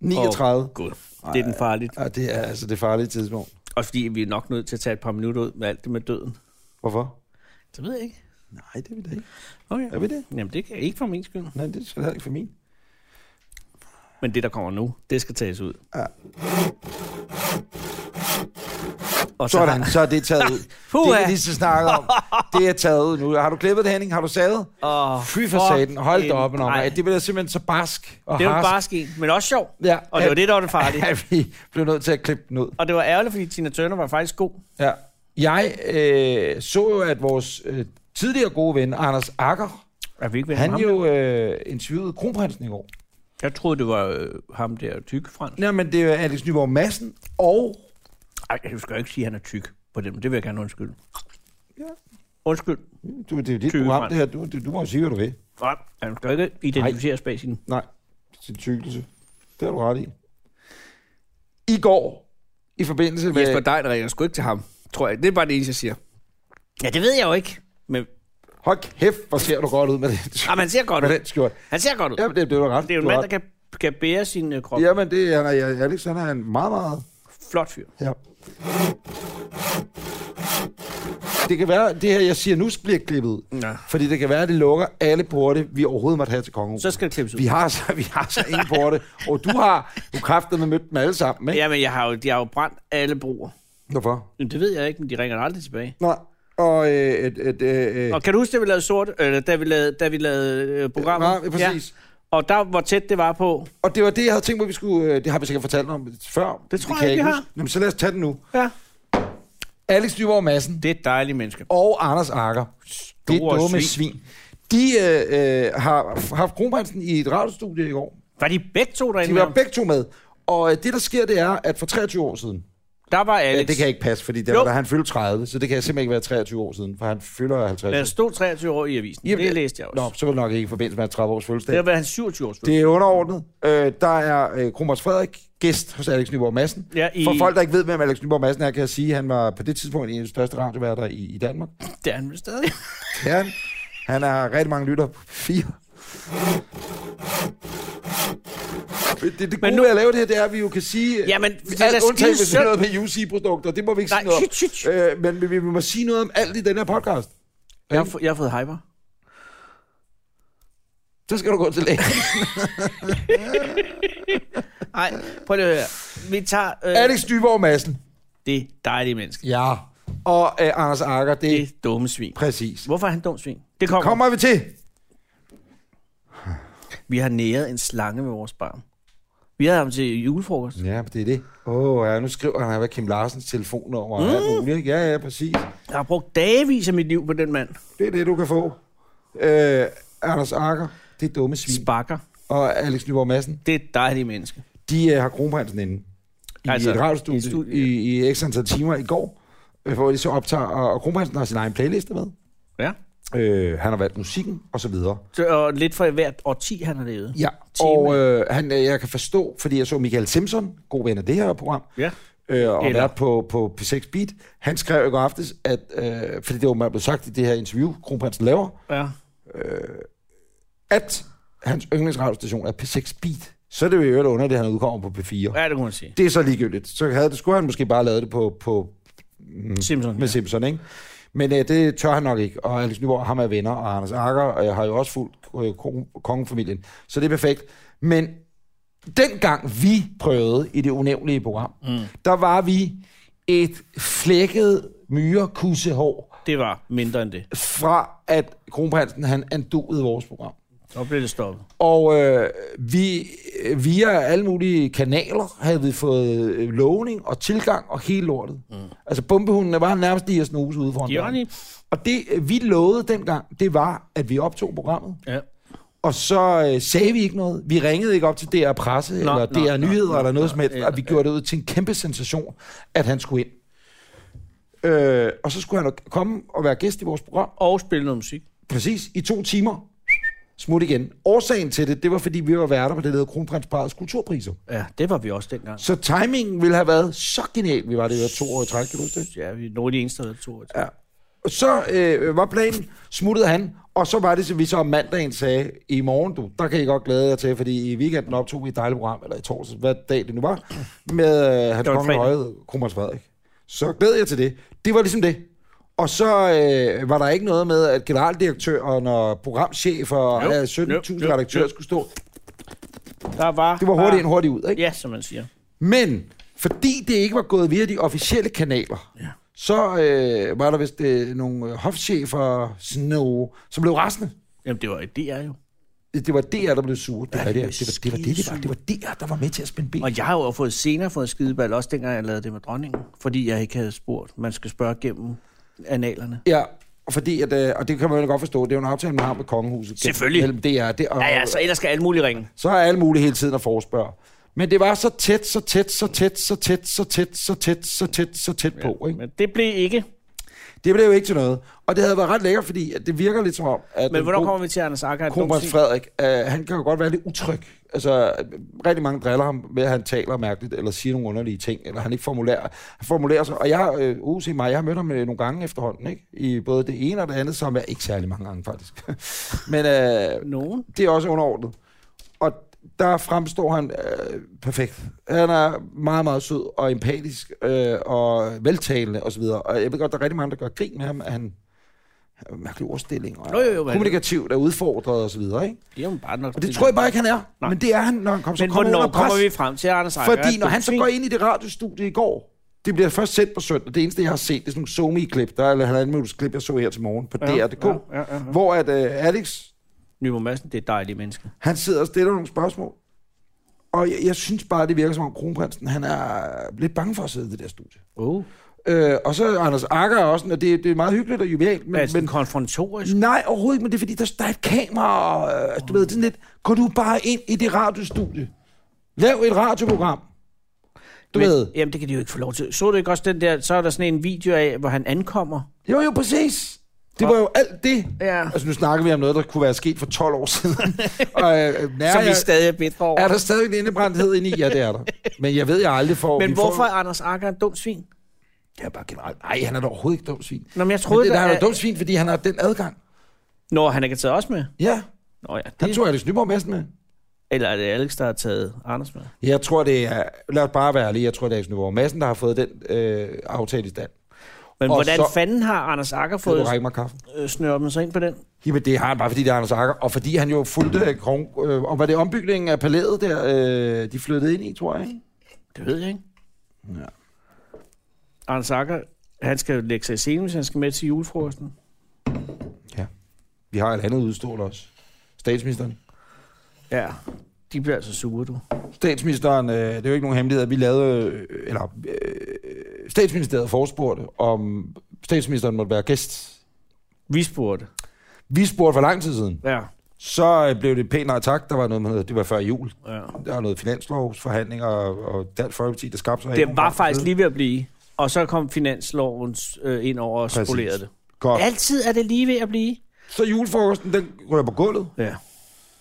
Speaker 3: 39.
Speaker 2: Åh, Gud, det er den farlige.
Speaker 3: Ja, det er altså det farlige tidspunkt.
Speaker 2: Også fordi vi er nok nødt til at tage et par minutter ud med alt det med døden.
Speaker 3: Hvorfor?
Speaker 2: Det ved jeg ikke.
Speaker 3: Nej, det er vi da ikke.
Speaker 2: Okay.
Speaker 3: Er vi det?
Speaker 2: Jamen, det kan ikke for min skyld.
Speaker 3: Nej, det skal heller ikke for min.
Speaker 2: Men det, der kommer nu, det skal tages ud. Og så
Speaker 3: Sådan,
Speaker 2: har-
Speaker 3: så er det taget ud.
Speaker 2: Puha.
Speaker 3: det kan vi lige så snakke om. Det er taget ud nu. Har du klippet det, Henning? Har du savet?
Speaker 2: Åh,
Speaker 3: Fy for satan. Hold da
Speaker 2: en-
Speaker 3: op, når
Speaker 2: nej.
Speaker 3: Det bliver simpelthen så barsk og
Speaker 2: Det var
Speaker 3: harsk,
Speaker 2: bare sket, men også sjov.
Speaker 3: Ja.
Speaker 2: Og det var det, der var det farlige.
Speaker 3: at vi blev nødt til at klippe den ud.
Speaker 2: Og det var ærgerligt, fordi Tina Turner var faktisk god.
Speaker 3: Ja. Jeg øh, så jo, at vores øh, tidligere gode ven, Anders Akker,
Speaker 2: Er vi ikke ved
Speaker 3: han
Speaker 2: ham?
Speaker 3: jo øh, interviewede kronprinsen i går.
Speaker 2: Jeg troede, det var øh, ham der tyk fransk.
Speaker 3: Nej, men det er Alex Nyborg Madsen og...
Speaker 2: Ej, du skal jo ikke sige, at han er tyk på den. Det vil jeg gerne undskylde. Ja. Undskyld.
Speaker 3: Du, det er jo dit
Speaker 2: Tykke
Speaker 3: program,
Speaker 2: mand.
Speaker 3: det her. Du, du, du må jo sige, hvad du vil.
Speaker 2: Nej, han skal jo ikke identificeres bag sin...
Speaker 3: Nej, sin tykkelse. Det har du ret i. I går, i forbindelse med...
Speaker 2: Jesper Dejl ringer sgu ikke til ham, tror jeg. Det er bare det eneste, jeg siger. Ja, det ved jeg jo ikke. Men
Speaker 3: Hold kæft, hvor ser du godt ud med den,
Speaker 2: Jamen, han ser godt
Speaker 3: med
Speaker 2: ud.
Speaker 3: den skjort.
Speaker 2: Han ser godt ud.
Speaker 3: Jamen, det, det er du ret.
Speaker 2: Det er jo en
Speaker 3: du
Speaker 2: mand,
Speaker 3: har
Speaker 2: der kan, kan bære sin øh, krop.
Speaker 3: ret. Jamen, det er, han er, Alex, han er en meget, meget...
Speaker 2: Flot fyr.
Speaker 3: Ja. Det kan være, det her, jeg siger nu, bliver klippet ud.
Speaker 2: Ja.
Speaker 3: Fordi det kan være, at det lukker alle porte, vi overhovedet måtte have til kongen.
Speaker 2: Så skal det klippes ud.
Speaker 3: vi har så, vi har så ingen porte, og du har du kræftet med mødt dem alle sammen, ikke?
Speaker 2: Jamen, jeg har jo, de har jo brændt alle broer.
Speaker 3: Hvorfor?
Speaker 2: Men det ved jeg ikke, men de ringer aldrig tilbage.
Speaker 3: Nej. Og, øh, et, et, øh, øh,
Speaker 2: Og kan du huske, da vi lavede sort, eller da vi lavede, da vi lavede øh, programmet?
Speaker 3: Ja, præcis.
Speaker 2: Og der, hvor tæt det var på.
Speaker 3: og det var det, jeg havde tænkt mig, vi skulle... Øh, det har vi sikkert fortalt om før.
Speaker 2: Det tror
Speaker 3: kan
Speaker 2: jeg ikke, vi
Speaker 3: huske.
Speaker 2: har.
Speaker 3: Jamen, så lad os tage den nu.
Speaker 2: Ja.
Speaker 3: Alex Nyborg Madsen
Speaker 2: Det er et dejligt menneske.
Speaker 3: og Anders Akker. Det
Speaker 2: Store
Speaker 3: dumme
Speaker 2: svin.
Speaker 3: svin. De øh, øh, har haft Kronprinsen i et radiostudie i går.
Speaker 2: Var de begge to derinde?
Speaker 3: De var
Speaker 2: med
Speaker 3: begge to med. Og øh, det, der sker, det er, at for 23 år siden...
Speaker 2: ham? Der var Alex.
Speaker 3: Ja, det kan ikke passe, fordi det
Speaker 2: Jo.
Speaker 3: var, da han fyldte 30, så det kan jeg simpelthen ikke være 23 år siden, for han fylder 50.
Speaker 2: Der stod 23 år i avisen.
Speaker 3: Jamen,
Speaker 2: Jamen, det
Speaker 3: jeg-
Speaker 2: læste jeg også.
Speaker 3: Nå, så var det nok ikke i forbindelse med hans 30-års fødselsdag.
Speaker 2: Det har været hans 27 års
Speaker 3: Det er underordnet. Øh, der er øh, Kromers Frederik, gæst hos Alex Nyborg Madsen.
Speaker 2: Ja, i-
Speaker 3: For folk, der ikke ved, hvem Alex Nyborg Madsen er, kan jeg sige, at han var på det tidspunkt en af de største radioværter i, i Danmark.
Speaker 2: Det er han vel stadig.
Speaker 3: Det er han. Han har rigtig mange lytter på fire. Det, det gode
Speaker 2: Men
Speaker 3: nu...
Speaker 2: nu-
Speaker 3: ved at lave det her, det er, at vi jo kan sige...
Speaker 2: Jamen,
Speaker 3: det
Speaker 2: det er da
Speaker 3: er undtagen,
Speaker 2: skide
Speaker 3: hvis det er
Speaker 2: synd.
Speaker 3: noget med UC-produkter. Det må vi ikke
Speaker 2: Nej,
Speaker 3: sige noget om.
Speaker 2: shit, shit.
Speaker 3: Øh, men vi, vi må sige noget om alt i den her podcast.
Speaker 2: Jeg har, få- jeg har fået hyper.
Speaker 3: Så skal du gå til lægen.
Speaker 2: Nej, prøv lige at høre. Vi tager øh,
Speaker 3: Alex Dyborg Madsen.
Speaker 2: det dejlige menneske.
Speaker 3: Ja. Og øh, Anders Akker, det er
Speaker 2: Det dumme svin.
Speaker 3: præcis.
Speaker 2: Hvorfor er han dum svin? Det kommer.
Speaker 3: Kommer vi til?
Speaker 2: Vi har næret en slange med vores barn. Vi havde ham til julefrokost.
Speaker 3: Ja, men det er det. Åh, oh, ja, nu skriver han, hvad Kim Larsens telefonnummer mm. er muligt. ikke? Ja, ja, præcis.
Speaker 2: Jeg har brugt dagevis af mit liv på den mand.
Speaker 3: Det er det, du kan få. Øh, Anders Akker, det er dumme svin.
Speaker 2: Sparker.
Speaker 3: Og Alex Nyborg Madsen,
Speaker 2: Det er et dejligt menneske.
Speaker 3: de øh, har kronprinsen inde. I
Speaker 2: Altså,
Speaker 3: altså, et
Speaker 2: i et
Speaker 3: radiostudie
Speaker 2: studie,
Speaker 3: i, i, i x antal timer i går, øh, hvor de så optager, og, og kronprinsen har sin egen playliste med.
Speaker 2: Ja.
Speaker 3: Øh, han har valgt musikken, og så videre.
Speaker 2: Så- Og lidt fra hvert årti, han har levet.
Speaker 3: Ja,
Speaker 2: Tema.
Speaker 3: og øh, han, øh, jeg kan forstå, fordi jeg så Michael Simpson, god ven af det her program,
Speaker 2: Ja.
Speaker 3: øh, og
Speaker 2: Eller-
Speaker 3: vært på, på P6 Beat, han skrev i går aftes, at, øh, fordi det var man blevet sagt i det her interview, Kronprinsen laver,
Speaker 2: ja.
Speaker 3: at hans yndlingsradiostation er P6 Beat. Så er det jo i øvrigt underligt, at han udkommer på P4.
Speaker 2: Ja, det kunne man sige.
Speaker 3: Det er så ligegyldigt. Så havde det, skulle han måske bare lavet det på, på Mm.
Speaker 2: Simpson.
Speaker 3: med Simpson, ikke? Men øh, det tør han nok ikke, og Alex Nyborg, ham er venner, og Anders Akker og jeg har jo også fulgt øh, kon- kongefamilien, så det er perfekt. Men dengang vi prøvede i det unævnlige program, mm. der var vi et flækket myrekussehår
Speaker 2: Det var mindre end det.
Speaker 3: fra, at kronprinsen han andodede vores program.
Speaker 2: Så blev det stoppet.
Speaker 3: Og øh, vi, øh, via alle mulige kanaler havde vi fået øh, lovning og tilgang og hele lortet. Mm. Altså bombehundene var nærmest lige at snuse ude foran
Speaker 2: De var
Speaker 3: døren.
Speaker 2: lige-
Speaker 3: Og det øh, vi lovede dengang, det var, at vi optog programmet.
Speaker 2: Ja.
Speaker 3: Og så øh, sagde vi ikke noget. Vi ringede ikke op til DR Presse, nå, eller
Speaker 2: nå,
Speaker 3: DR
Speaker 2: nå,
Speaker 3: Nyheder,
Speaker 2: nå,
Speaker 3: eller noget
Speaker 2: nå,
Speaker 3: som helst.
Speaker 2: eller-
Speaker 3: Og vi gjorde det ud til en kæmpe sensation, at han skulle ind. Øh, og så skulle han jo komme og være gæst i vores program.
Speaker 2: Og spille noget musik.
Speaker 3: Præcis, i to timer. Smut igen. Årsagen til det, det var fordi vi var værter på det, der hedder Kronprinsparets kulturpriser.
Speaker 2: Ja, det var vi også dengang.
Speaker 3: Så timingen ville have været så genial. Vi var det jo to år i træk, kan du huske det?
Speaker 2: Ja, vi er nogle af de eneste, der havde to. Ja.
Speaker 3: Og Så øh, var planen, smuttede han, og så var det, som vi så om mandagen sagde, i morgen, du, der kan I godt glæde jer til, fordi i weekenden optog vi et dejligt program, eller i torsdags, hvad dag det nu var, med
Speaker 2: Det
Speaker 3: øh, hans
Speaker 2: var en
Speaker 3: kongelige
Speaker 2: fredag.
Speaker 3: højhed, Kronprins Frederik. Så glæder jeg til det. Det var ligesom det. Og så øh, var der ikke noget med, at generaldirektøren og programchefer og
Speaker 2: Jo,
Speaker 3: øh, 17.000
Speaker 2: jo, jo,
Speaker 3: redaktører skulle stå.
Speaker 2: Der var...
Speaker 3: Det var hurtigt ind, hurtigt ud, ikke?
Speaker 2: Ja, som man siger.
Speaker 3: Men Fordi det ikke var gået via de officielle kanaler,
Speaker 2: Ja.
Speaker 3: så øh, var der vist øh, nogle øh, hofchefer, snow, som blev rasende.
Speaker 2: Jamen, det var et DR jo.
Speaker 3: Det var DR, der blev sure. Det,
Speaker 2: Ja,
Speaker 3: var, det,
Speaker 2: de blev
Speaker 3: det, var, det, var, det, det, var, det var DR, der var med til at spænde ben.
Speaker 2: Og jeg har jo fået, senere fået skideball, også dengang jeg lavede det med dronningen, fordi jeg ikke havde spurgt. Man skal spørge gennem analerne.
Speaker 3: Ja, og fordi at, øh, og det kan man jo godt forstå, det er jo en aftale, man har med kongehuset.
Speaker 2: Selvfølgelig.
Speaker 3: Mellem DR. Det, og,
Speaker 2: Ja, ja, så ellers skal alle mulige ringe.
Speaker 3: så er alle mulige hele tiden at forespørge. Men det var så tæt, så tæt, så tæt, så tæt, så tæt, så tæt, så tæt, så tæt på. Ikke?
Speaker 2: Men det blev ikke.
Speaker 3: Det blev jo ikke til noget. Og det havde været ret lækkert, fordi at det virker lidt som om, at
Speaker 2: Men
Speaker 3: den
Speaker 2: hvornår
Speaker 3: gode
Speaker 2: kommer vi til Anders Akker?
Speaker 3: kronprins Frederik, øh, han kan jo godt være lidt utryg. Altså, rigtig mange driller ham med, at han taler mærkeligt, eller siger nogle underlige ting, eller han ikke formulerer, han formulerer sig. Og jeg, øh, uh, se mig, jeg har mødt ham øh, nogle gange efterhånden, ikke? I både det ene og det andet, som er ikke særlig mange gange, faktisk. Men øh,
Speaker 2: Nogen?
Speaker 3: det er også underordnet. Og der fremstår han øh, perfekt. Han er meget, meget sød og empatisk øh, og veltalende osv. Og jeg ved godt, der er rigtig mange, der gør grin med ham, at han har mærkelig ordstilling og
Speaker 2: Jo, jo, jo, men-
Speaker 3: kommunikativt er udfordret og så videre, ikke?
Speaker 2: Det er jo bare nok.
Speaker 3: Og det tror jeg bare ikke, han er.
Speaker 2: Nej.
Speaker 3: Men det er han, når han kommer, så
Speaker 2: Men
Speaker 3: kommer
Speaker 2: hvornår
Speaker 3: under pres.
Speaker 2: kommer vi frem til Anders Akker?
Speaker 3: Fordi når han så går ind i det radiostudie i går, det bliver først sendt på søndag. Det eneste, jeg har set, det er sådan nogle Zoom-klip, der er, eller halvanden minutters klip, jeg så her til morgen på
Speaker 2: Ja,
Speaker 3: DR.dk,
Speaker 2: ja, ja, ja, ja.
Speaker 3: hvor at, øh, Alex,
Speaker 2: Nymo Madsen, det er dejlige mennesker.
Speaker 3: han sidder og stiller nogle spørgsmål. Og jeg, jeg synes bare, det virker som om kronprinsen, han er lidt bange for at sidde i det der studie.
Speaker 2: Oh.
Speaker 3: Øh, og så Anders Akker er også, og det, det er meget hyggeligt og jubilært, men,
Speaker 2: Men,
Speaker 3: men
Speaker 2: konfrontorisk.
Speaker 3: nej, overhovedet ikke, men det er fordi, der, der er et kamera, og øh, du ved, sådan lidt, gå du bare ind i det radiostudie. Lav et radioprogram. Du men, ved.
Speaker 2: Jamen, det kan de jo ikke få lov til. Så du ikke også den der, så er der sådan en video af, hvor han ankommer?
Speaker 3: Jo, jo, præcis. Det var jo alt det.
Speaker 2: Ja.
Speaker 3: Altså, nu snakker vi om noget, der kunne være sket for 12 år siden. og, øh, nær,
Speaker 2: som vi
Speaker 3: jeg-
Speaker 2: stadig er bedre over.
Speaker 3: Er der stadig en indebrændthed inde i? Ja, det er der. Men jeg ved, jeg aldrig får...
Speaker 2: Men
Speaker 3: vi
Speaker 2: hvorfor
Speaker 3: Får,
Speaker 2: er Anders Akker en dum svin?
Speaker 3: det er bare generelt. Nej, han er da overhovedet ikke dum svin.
Speaker 2: Nå, men jeg
Speaker 3: Men
Speaker 2: troede,
Speaker 3: det, der,
Speaker 2: da-
Speaker 3: han er dum svin, fordi han har den adgang.
Speaker 2: Nå, han ikke har taget os med.
Speaker 3: Ja,
Speaker 2: Nå ja,
Speaker 3: han
Speaker 2: det...
Speaker 3: tog Alex Nyborg Madsen med.
Speaker 2: Eller er det Alex, der har taget Anders med?
Speaker 3: Jeg tror, det er... Lad os bare være ærlige. Jeg tror, det er Alex Nyborg Madsen, der har fået den øh, aftale i stand.
Speaker 2: Men
Speaker 3: Og
Speaker 2: hvordan
Speaker 3: så-
Speaker 2: fanden har Anders Akker
Speaker 3: Kan du
Speaker 2: fået
Speaker 3: række mig kaffen?
Speaker 2: øh, snørmet sig ind på den?
Speaker 3: Jamen, det har han bare, fordi det er Anders Akker. Og fordi han jo fulgte... øh, Kron, øh, og var det ombygningen af palæet der, øh, de flyttede ind i, tror jeg? ikke?
Speaker 2: Det ved jeg ikke. Ja. Anders Akker, han skal jo lægge sig i scenen, hvis han skal med til julefrokosten.
Speaker 3: Vi har et andet udstående også. Statsministeren.
Speaker 2: Ja, de bliver altså sure, du.
Speaker 3: statsministeren, øh, det er jo ikke nogen hemmelighed, at vi lavede, øh, eller øh, statsministeriet forespurgte, om statsministeren måtte være gæst.
Speaker 2: Vi spurgte.
Speaker 3: Vi spurgte for lang tid siden.
Speaker 2: Ja,
Speaker 3: Så øh, blev det pænt nej tak, der var noget med, det var før jul.
Speaker 2: ja.
Speaker 3: Der var noget finanslovsforhandlinger, og, og Dansk Folkeparti, der skabte sig. af
Speaker 2: Det
Speaker 3: nogle
Speaker 2: var
Speaker 3: gange.
Speaker 2: faktisk lige ved at blive. Og så kom finansloven øh, ind over og
Speaker 3: Præcis.
Speaker 2: spolerede det.
Speaker 3: Godt.
Speaker 2: Altid er det lige ved at blive.
Speaker 3: Så julefrokosten, den rører på gulvet.
Speaker 2: Ja.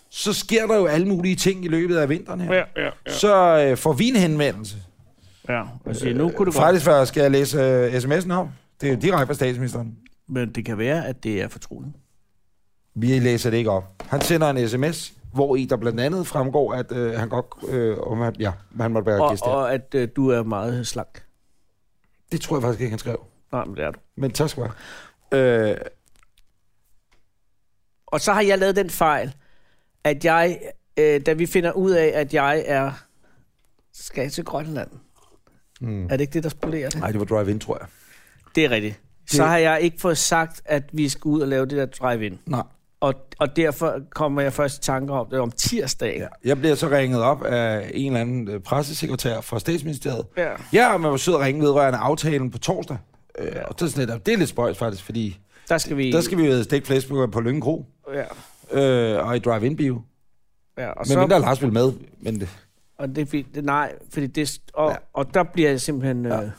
Speaker 3: Så sker der jo alle mulige ting i løbet af vinteren her.
Speaker 2: Ja, ja, ja.
Speaker 3: Så øh, får vi en henvendelse. Øh,
Speaker 2: ja. Og siger, nu kunne det godt.
Speaker 3: Faktisk før skal jeg læse øh, sms'en op. Det er jo direkte fra statsministeren.
Speaker 2: Men det kan være, at det er fortroligt.
Speaker 3: Vi læser det ikke op. Han sender en sms, hvor i der blandt andet fremgår, at øh, han godt, øh, om han, ja, han måtte være
Speaker 2: Og,
Speaker 3: gæst her.
Speaker 2: og at øh, du er meget slank.
Speaker 3: Det tror jeg faktisk ikke, han skrev.
Speaker 2: Nej, men det er du.
Speaker 3: Men tak skal du have. Øh,
Speaker 2: Og så har jeg lavet den fejl, at jeg, øh, da vi finder ud af, at jeg er skal til Grønland. Mm. Er det ikke det, der spolerer det?
Speaker 3: nej, det var drive-in, tror jeg.
Speaker 2: Det er rigtigt. Så
Speaker 3: Det-
Speaker 2: har jeg ikke fået sagt, at vi skal ud og lave det der drive-in.
Speaker 3: Nej.
Speaker 2: Og, og derfor kommer jeg først i tanker om det om tirsdag. Ja.
Speaker 3: Jeg bliver så ringet op af en eller anden øh, pressesekretær fra statsministeriet.
Speaker 2: Ja.
Speaker 3: Ja, man var sød at ringe vedrørende aftalen på torsdag. Øh, og det er, sådan lidt, det er lidt spøjs faktisk, fordi
Speaker 2: Der skal vi...
Speaker 3: der skal vi jo stikke flæsbøger på Lønge Kro
Speaker 2: Ja,
Speaker 3: øh, og i drive-in-bio.
Speaker 2: ja. Og,
Speaker 3: Men
Speaker 2: så,
Speaker 3: mindre Lars vil med. Men, det-
Speaker 2: og det, er fordi- det, nej, fordi det, og,
Speaker 3: Ja.
Speaker 2: ja. og der bliver jeg simpelthen... Ja. Øh,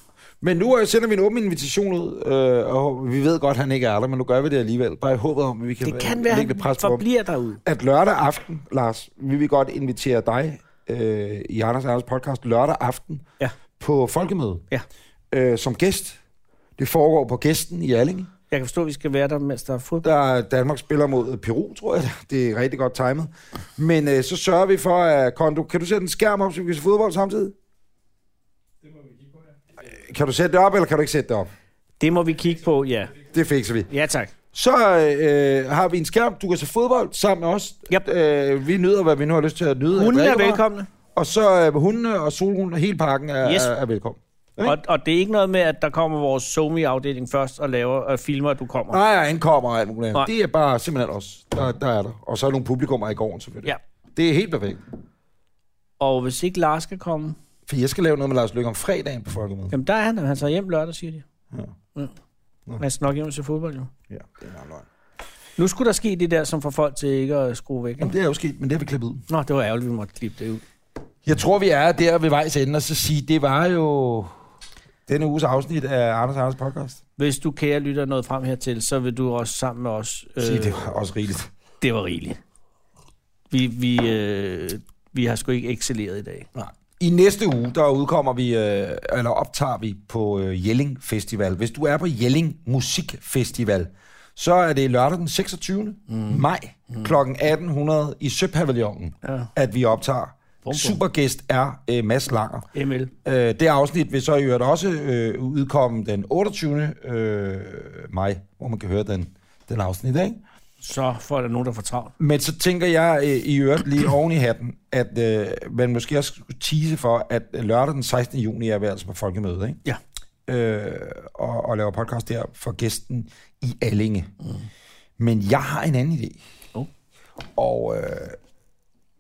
Speaker 3: Men nu øh, sender vi en åben invitation ud, øh, og vi ved godt, at han ikke er der, men nu gør vi det alligevel. Bare i håbet om, at vi kan,
Speaker 2: det
Speaker 3: øh,
Speaker 2: kan være,
Speaker 3: lægge lidt
Speaker 2: han
Speaker 3: pres på ham.
Speaker 2: forbliver derude.
Speaker 3: At lørdag aften, Lars, vi vil godt invitere dig øh, i Anders og Anders podcast lørdag aften
Speaker 2: Ja.
Speaker 3: på Folkemøde
Speaker 2: Ja.
Speaker 3: øh, som gæst. Det foregår på gæsten i Allinge.
Speaker 2: Jeg kan forstå, at vi skal være der, mens der er fodbold.
Speaker 3: Der er Danmark spiller mod Peru, tror jeg. Det er rigtig godt timet. Men øh, så sørger vi for, at Kondo... Kan du sætte en skærm op, så vi kan se fodbold samtidig? Øh, Kan du sætte det op, eller kan du ikke sætte det op?
Speaker 2: Det må vi kigge på, ja.
Speaker 3: Det fikser vi.
Speaker 2: Ja, tak.
Speaker 3: Så øh, har vi en skærm. Du kan se fodbold sammen med os.
Speaker 2: Yep.
Speaker 3: Øh, vi nyder, hvad vi nu har lyst til at nyde.
Speaker 2: Hun
Speaker 3: Jeg
Speaker 2: er
Speaker 3: drikker bare.
Speaker 2: velkomne.
Speaker 3: Og så øh, hundene og solruen og hele pakken er,
Speaker 2: Yes.
Speaker 3: yes. er, er velkommen.
Speaker 2: Og, og det er ikke noget med, at der kommer vores Somi-afdeling først og laver og filmer, at du kommer.
Speaker 3: Nej, jeg ankommer og alt muligt.
Speaker 2: Nej.
Speaker 3: andet. Det er bare simpelthen os. Der, der er der. Og så er nogle publikummer i gården selvfølgelig.
Speaker 2: Ja.
Speaker 3: Det er helt perfekt.
Speaker 2: Og hvis ikke Lars skal komme,
Speaker 3: For jeg skal lave noget med Lars Lykke om fredagen på Folkemødet.
Speaker 2: jamen der er han. Han tager hjem lørdag, siger de.
Speaker 3: Ja.
Speaker 2: ja. Man skal nok hjem til fodbold, jo.
Speaker 3: Ja, det er meget løgn.
Speaker 2: Nu skulle der ske det der, som får folk til ikke at skrue væk.
Speaker 3: Jamen,
Speaker 2: Ikke?
Speaker 3: det er jo sket, men det har vi klippet ud.
Speaker 2: Nå, det var ærgerligt, vi måtte klippe det ud.
Speaker 3: Jeg tror, vi er der ved vejs ende, og så sige, det var jo denne uges afsnit af Anders og Anders podcast.
Speaker 2: Hvis du, kære lytter, noget frem hertil, så vil du også sammen med os... Øh,
Speaker 3: Sige, det var også rigeligt.
Speaker 2: det var rigeligt. Vi, vi, øh, vi har sgu ikke excelleret i dag.
Speaker 3: Nej. I næste uge, der udkommer vi, øh, eller optager vi på øh, Jelling Festival. Hvis du er på Jelling Musikfestival, så er det lørdag den 26. Mm. maj mm. kl. 1800 i Søpavillonen, ja. at vi optager. Supergæst er øh, Mads Langer.
Speaker 2: ML.
Speaker 3: Øh, det afsnit vil så i øvrigt også øh, udkomme den 28. Øh, maj, hvor man kan høre den, den afsnit, ikke?
Speaker 2: Så får der nogen, der får travlt.
Speaker 3: Men så tænker jeg øh, i øvrigt lige oven i hatten, at øh, man måske også skulle tease for, at lørdag den 16. juni er vi altså på folkemødet, ikke?
Speaker 2: Ja.
Speaker 3: Øh, og, og laver podcast der for gæsten i Allinge. Mm. Men jeg har en anden idé.
Speaker 2: Oh.
Speaker 3: Og øh,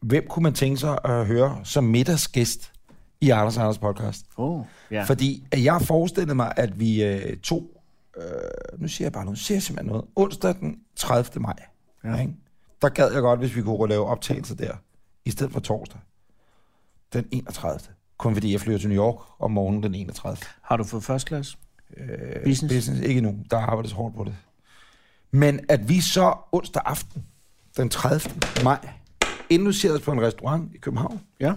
Speaker 3: hvem kunne man tænke sig at høre som middagsgæst i Anders og Anders podcast?
Speaker 2: Oh, ja.
Speaker 3: Ja. Fordi at jeg forestillede mig, at vi øh, to... Øh, nu siger jeg bare noget. Nu siger jeg simpelthen noget. Onsdag den 30. maj. Ja. Ikke? Der gad jeg godt, hvis vi kunne lave optagelser der. I stedet for torsdag. Den 31. Kun fordi jeg flyver til New York om morgenen den 31.
Speaker 2: Har du fået first class?
Speaker 3: Øh,
Speaker 2: Business.
Speaker 3: business. Ikke endnu. Der arbejdes hårdt på det. Men at vi så onsdag aften, den 30. maj, indluceres på en restaurant i København.
Speaker 2: Ja.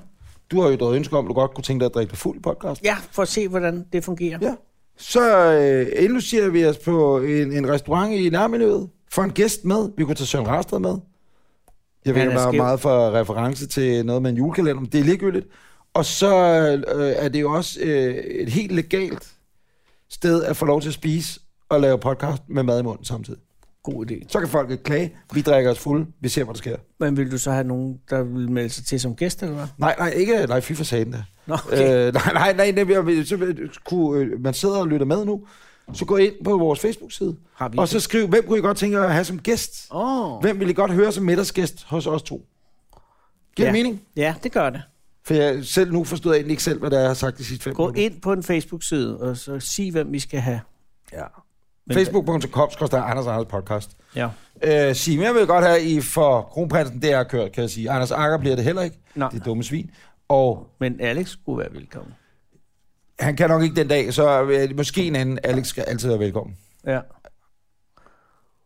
Speaker 3: Du har jo et ønske om, at du godt kunne tænke dig at drikke dig fuld i podcast.
Speaker 2: Ja, for at se, hvordan det fungerer.
Speaker 3: Ja. Så øh, indlucerer vi os på en, en restaurant i nærmiljøet. Får en gæst med. Vi kunne tage Søren Rastad med. Jeg ved
Speaker 2: Han
Speaker 3: ikke,
Speaker 2: er
Speaker 3: om der er
Speaker 2: skæv.
Speaker 3: meget for reference til noget med en julekalender, men det er ligegyldigt. Og så øh, er det jo også øh, et helt legalt sted at få lov til at spise og lave podcast med mad i munden samtidig.
Speaker 2: God idé.
Speaker 3: Så kan folk ikke klage. Vi drikker os fulde. Vi ser, hvad der sker.
Speaker 2: Men vil du så have nogen, der vil melde sig til som gæst, eller hvad?
Speaker 3: Nej, nej, ikke. Nej, fy for satan da.
Speaker 2: Nå, okay.
Speaker 3: Okay. Øh, nej, nej, nej, nej, vi- vi- så vil- kunne, øh, man sidder og lytter med nu, så gå ind på vores Facebook-side,
Speaker 2: Har vi
Speaker 3: og så skriv, hvem kunne I godt tænke jer at have som gæst?
Speaker 2: Åh.
Speaker 3: Hvem vil I godt høre som middagsgæst hos os to? Giver
Speaker 2: ja.
Speaker 3: det mening?
Speaker 2: Ja, det gør det.
Speaker 3: For jeg selv nu forstod jeg egentlig ikke selv, hvad det er, jeg har sagt de sidste fem
Speaker 2: Gå ind på en Facebook-side, og så sig, hvem vi skal have.
Speaker 3: Ja. Facebook.com skrøster Anders Anders podcast.
Speaker 2: Ja.
Speaker 3: Øh, sig, men jeg vil godt have, I for kronprinsen, det er kørt, kan jeg sige. Anders Akker bliver det heller ikke.
Speaker 2: Nej.
Speaker 3: Det er dumme svin. Og
Speaker 2: Men Alex skulle være velkommen.
Speaker 3: han kan nok ikke den dag, så øh, måske en anden. Alex skal altid være velkommen.
Speaker 2: Ja. Det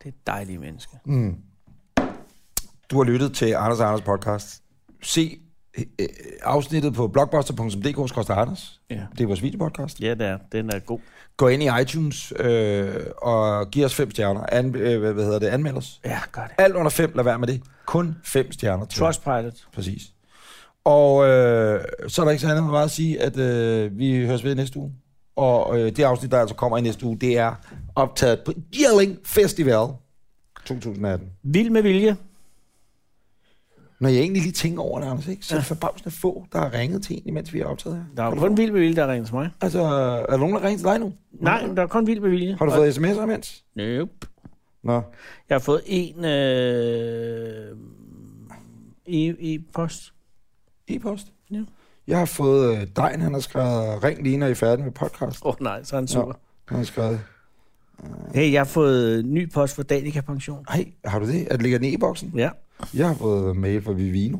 Speaker 2: er et dejligt menneske.
Speaker 3: Du har lyttet til Anders og Anders podcast. Se øh, afsnittet på blogbuster.dk Anders.
Speaker 2: Ja.
Speaker 3: Det er vores videopodcast.
Speaker 2: Ja, det er. den er god.
Speaker 3: Gå ind i iTunes øh, og giv os fem stjerner. An, øh, hvad hvad hedder det? Anmeld os.
Speaker 2: Ja, gør det.
Speaker 3: Alt under fem, lad være med det. Kun fem stjerner. tror jeg.
Speaker 2: Trustpilot.
Speaker 3: Præcis. Og øh, så er der ikke så andet meget at sige, at øh, vi høres ved i næste uge. Og øh, det afsnit, der altså kommer i næste uge, det er optaget på Jelling Festival 2018.
Speaker 2: Vild med vilje.
Speaker 3: Når jeg egentlig lige tænker over det, Anders, ikke? så er det forbavsende få, der har ringet til en, imens vi har optaget her.
Speaker 2: Der er jo kun vild med vilje, der ringer til mig.
Speaker 3: Altså, er der nogen, der ringer til dig nu?
Speaker 2: Nej, der er kun vild med vilje.
Speaker 3: Har du fået sms'er imens?
Speaker 2: Nope.
Speaker 3: Nå.
Speaker 2: Jeg har fået en øh, i, i post.
Speaker 3: E-post?
Speaker 2: Ja.
Speaker 3: Jeg har fået øh, Dejen, han har skrevet, ring lige, når I er færdige med podcast.
Speaker 2: Åh oh, nej, så er han
Speaker 3: Nå,
Speaker 2: super.
Speaker 3: han har skrevet,
Speaker 2: Hey, jeg har fået ny post for Danica Pension.
Speaker 3: hej, har du det? Er det ligger den i e-boksen?
Speaker 2: Ja.
Speaker 3: Jeg har fået mail fra Vivino.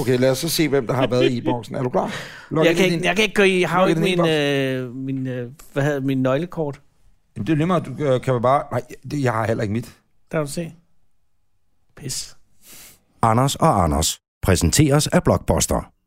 Speaker 3: Okay, lad os så se, hvem der har været i e-boksen. Er du klar? Log
Speaker 2: Jeg
Speaker 3: ind
Speaker 2: kan,
Speaker 3: i
Speaker 2: ikke,
Speaker 3: din-
Speaker 2: jeg kan ikke gå i, jeg har jo
Speaker 3: Luk
Speaker 2: ikke
Speaker 3: i din
Speaker 2: min, øh, min, øh, hvad hedder, det, min nøglekort.
Speaker 3: Jamen, Det er lige meget, du øh, kan vel bare... Nej, det, jeg har heller ikke mit.
Speaker 2: Der kan du se. Pis.
Speaker 1: Anders og Anders præsenteres af Blockbuster.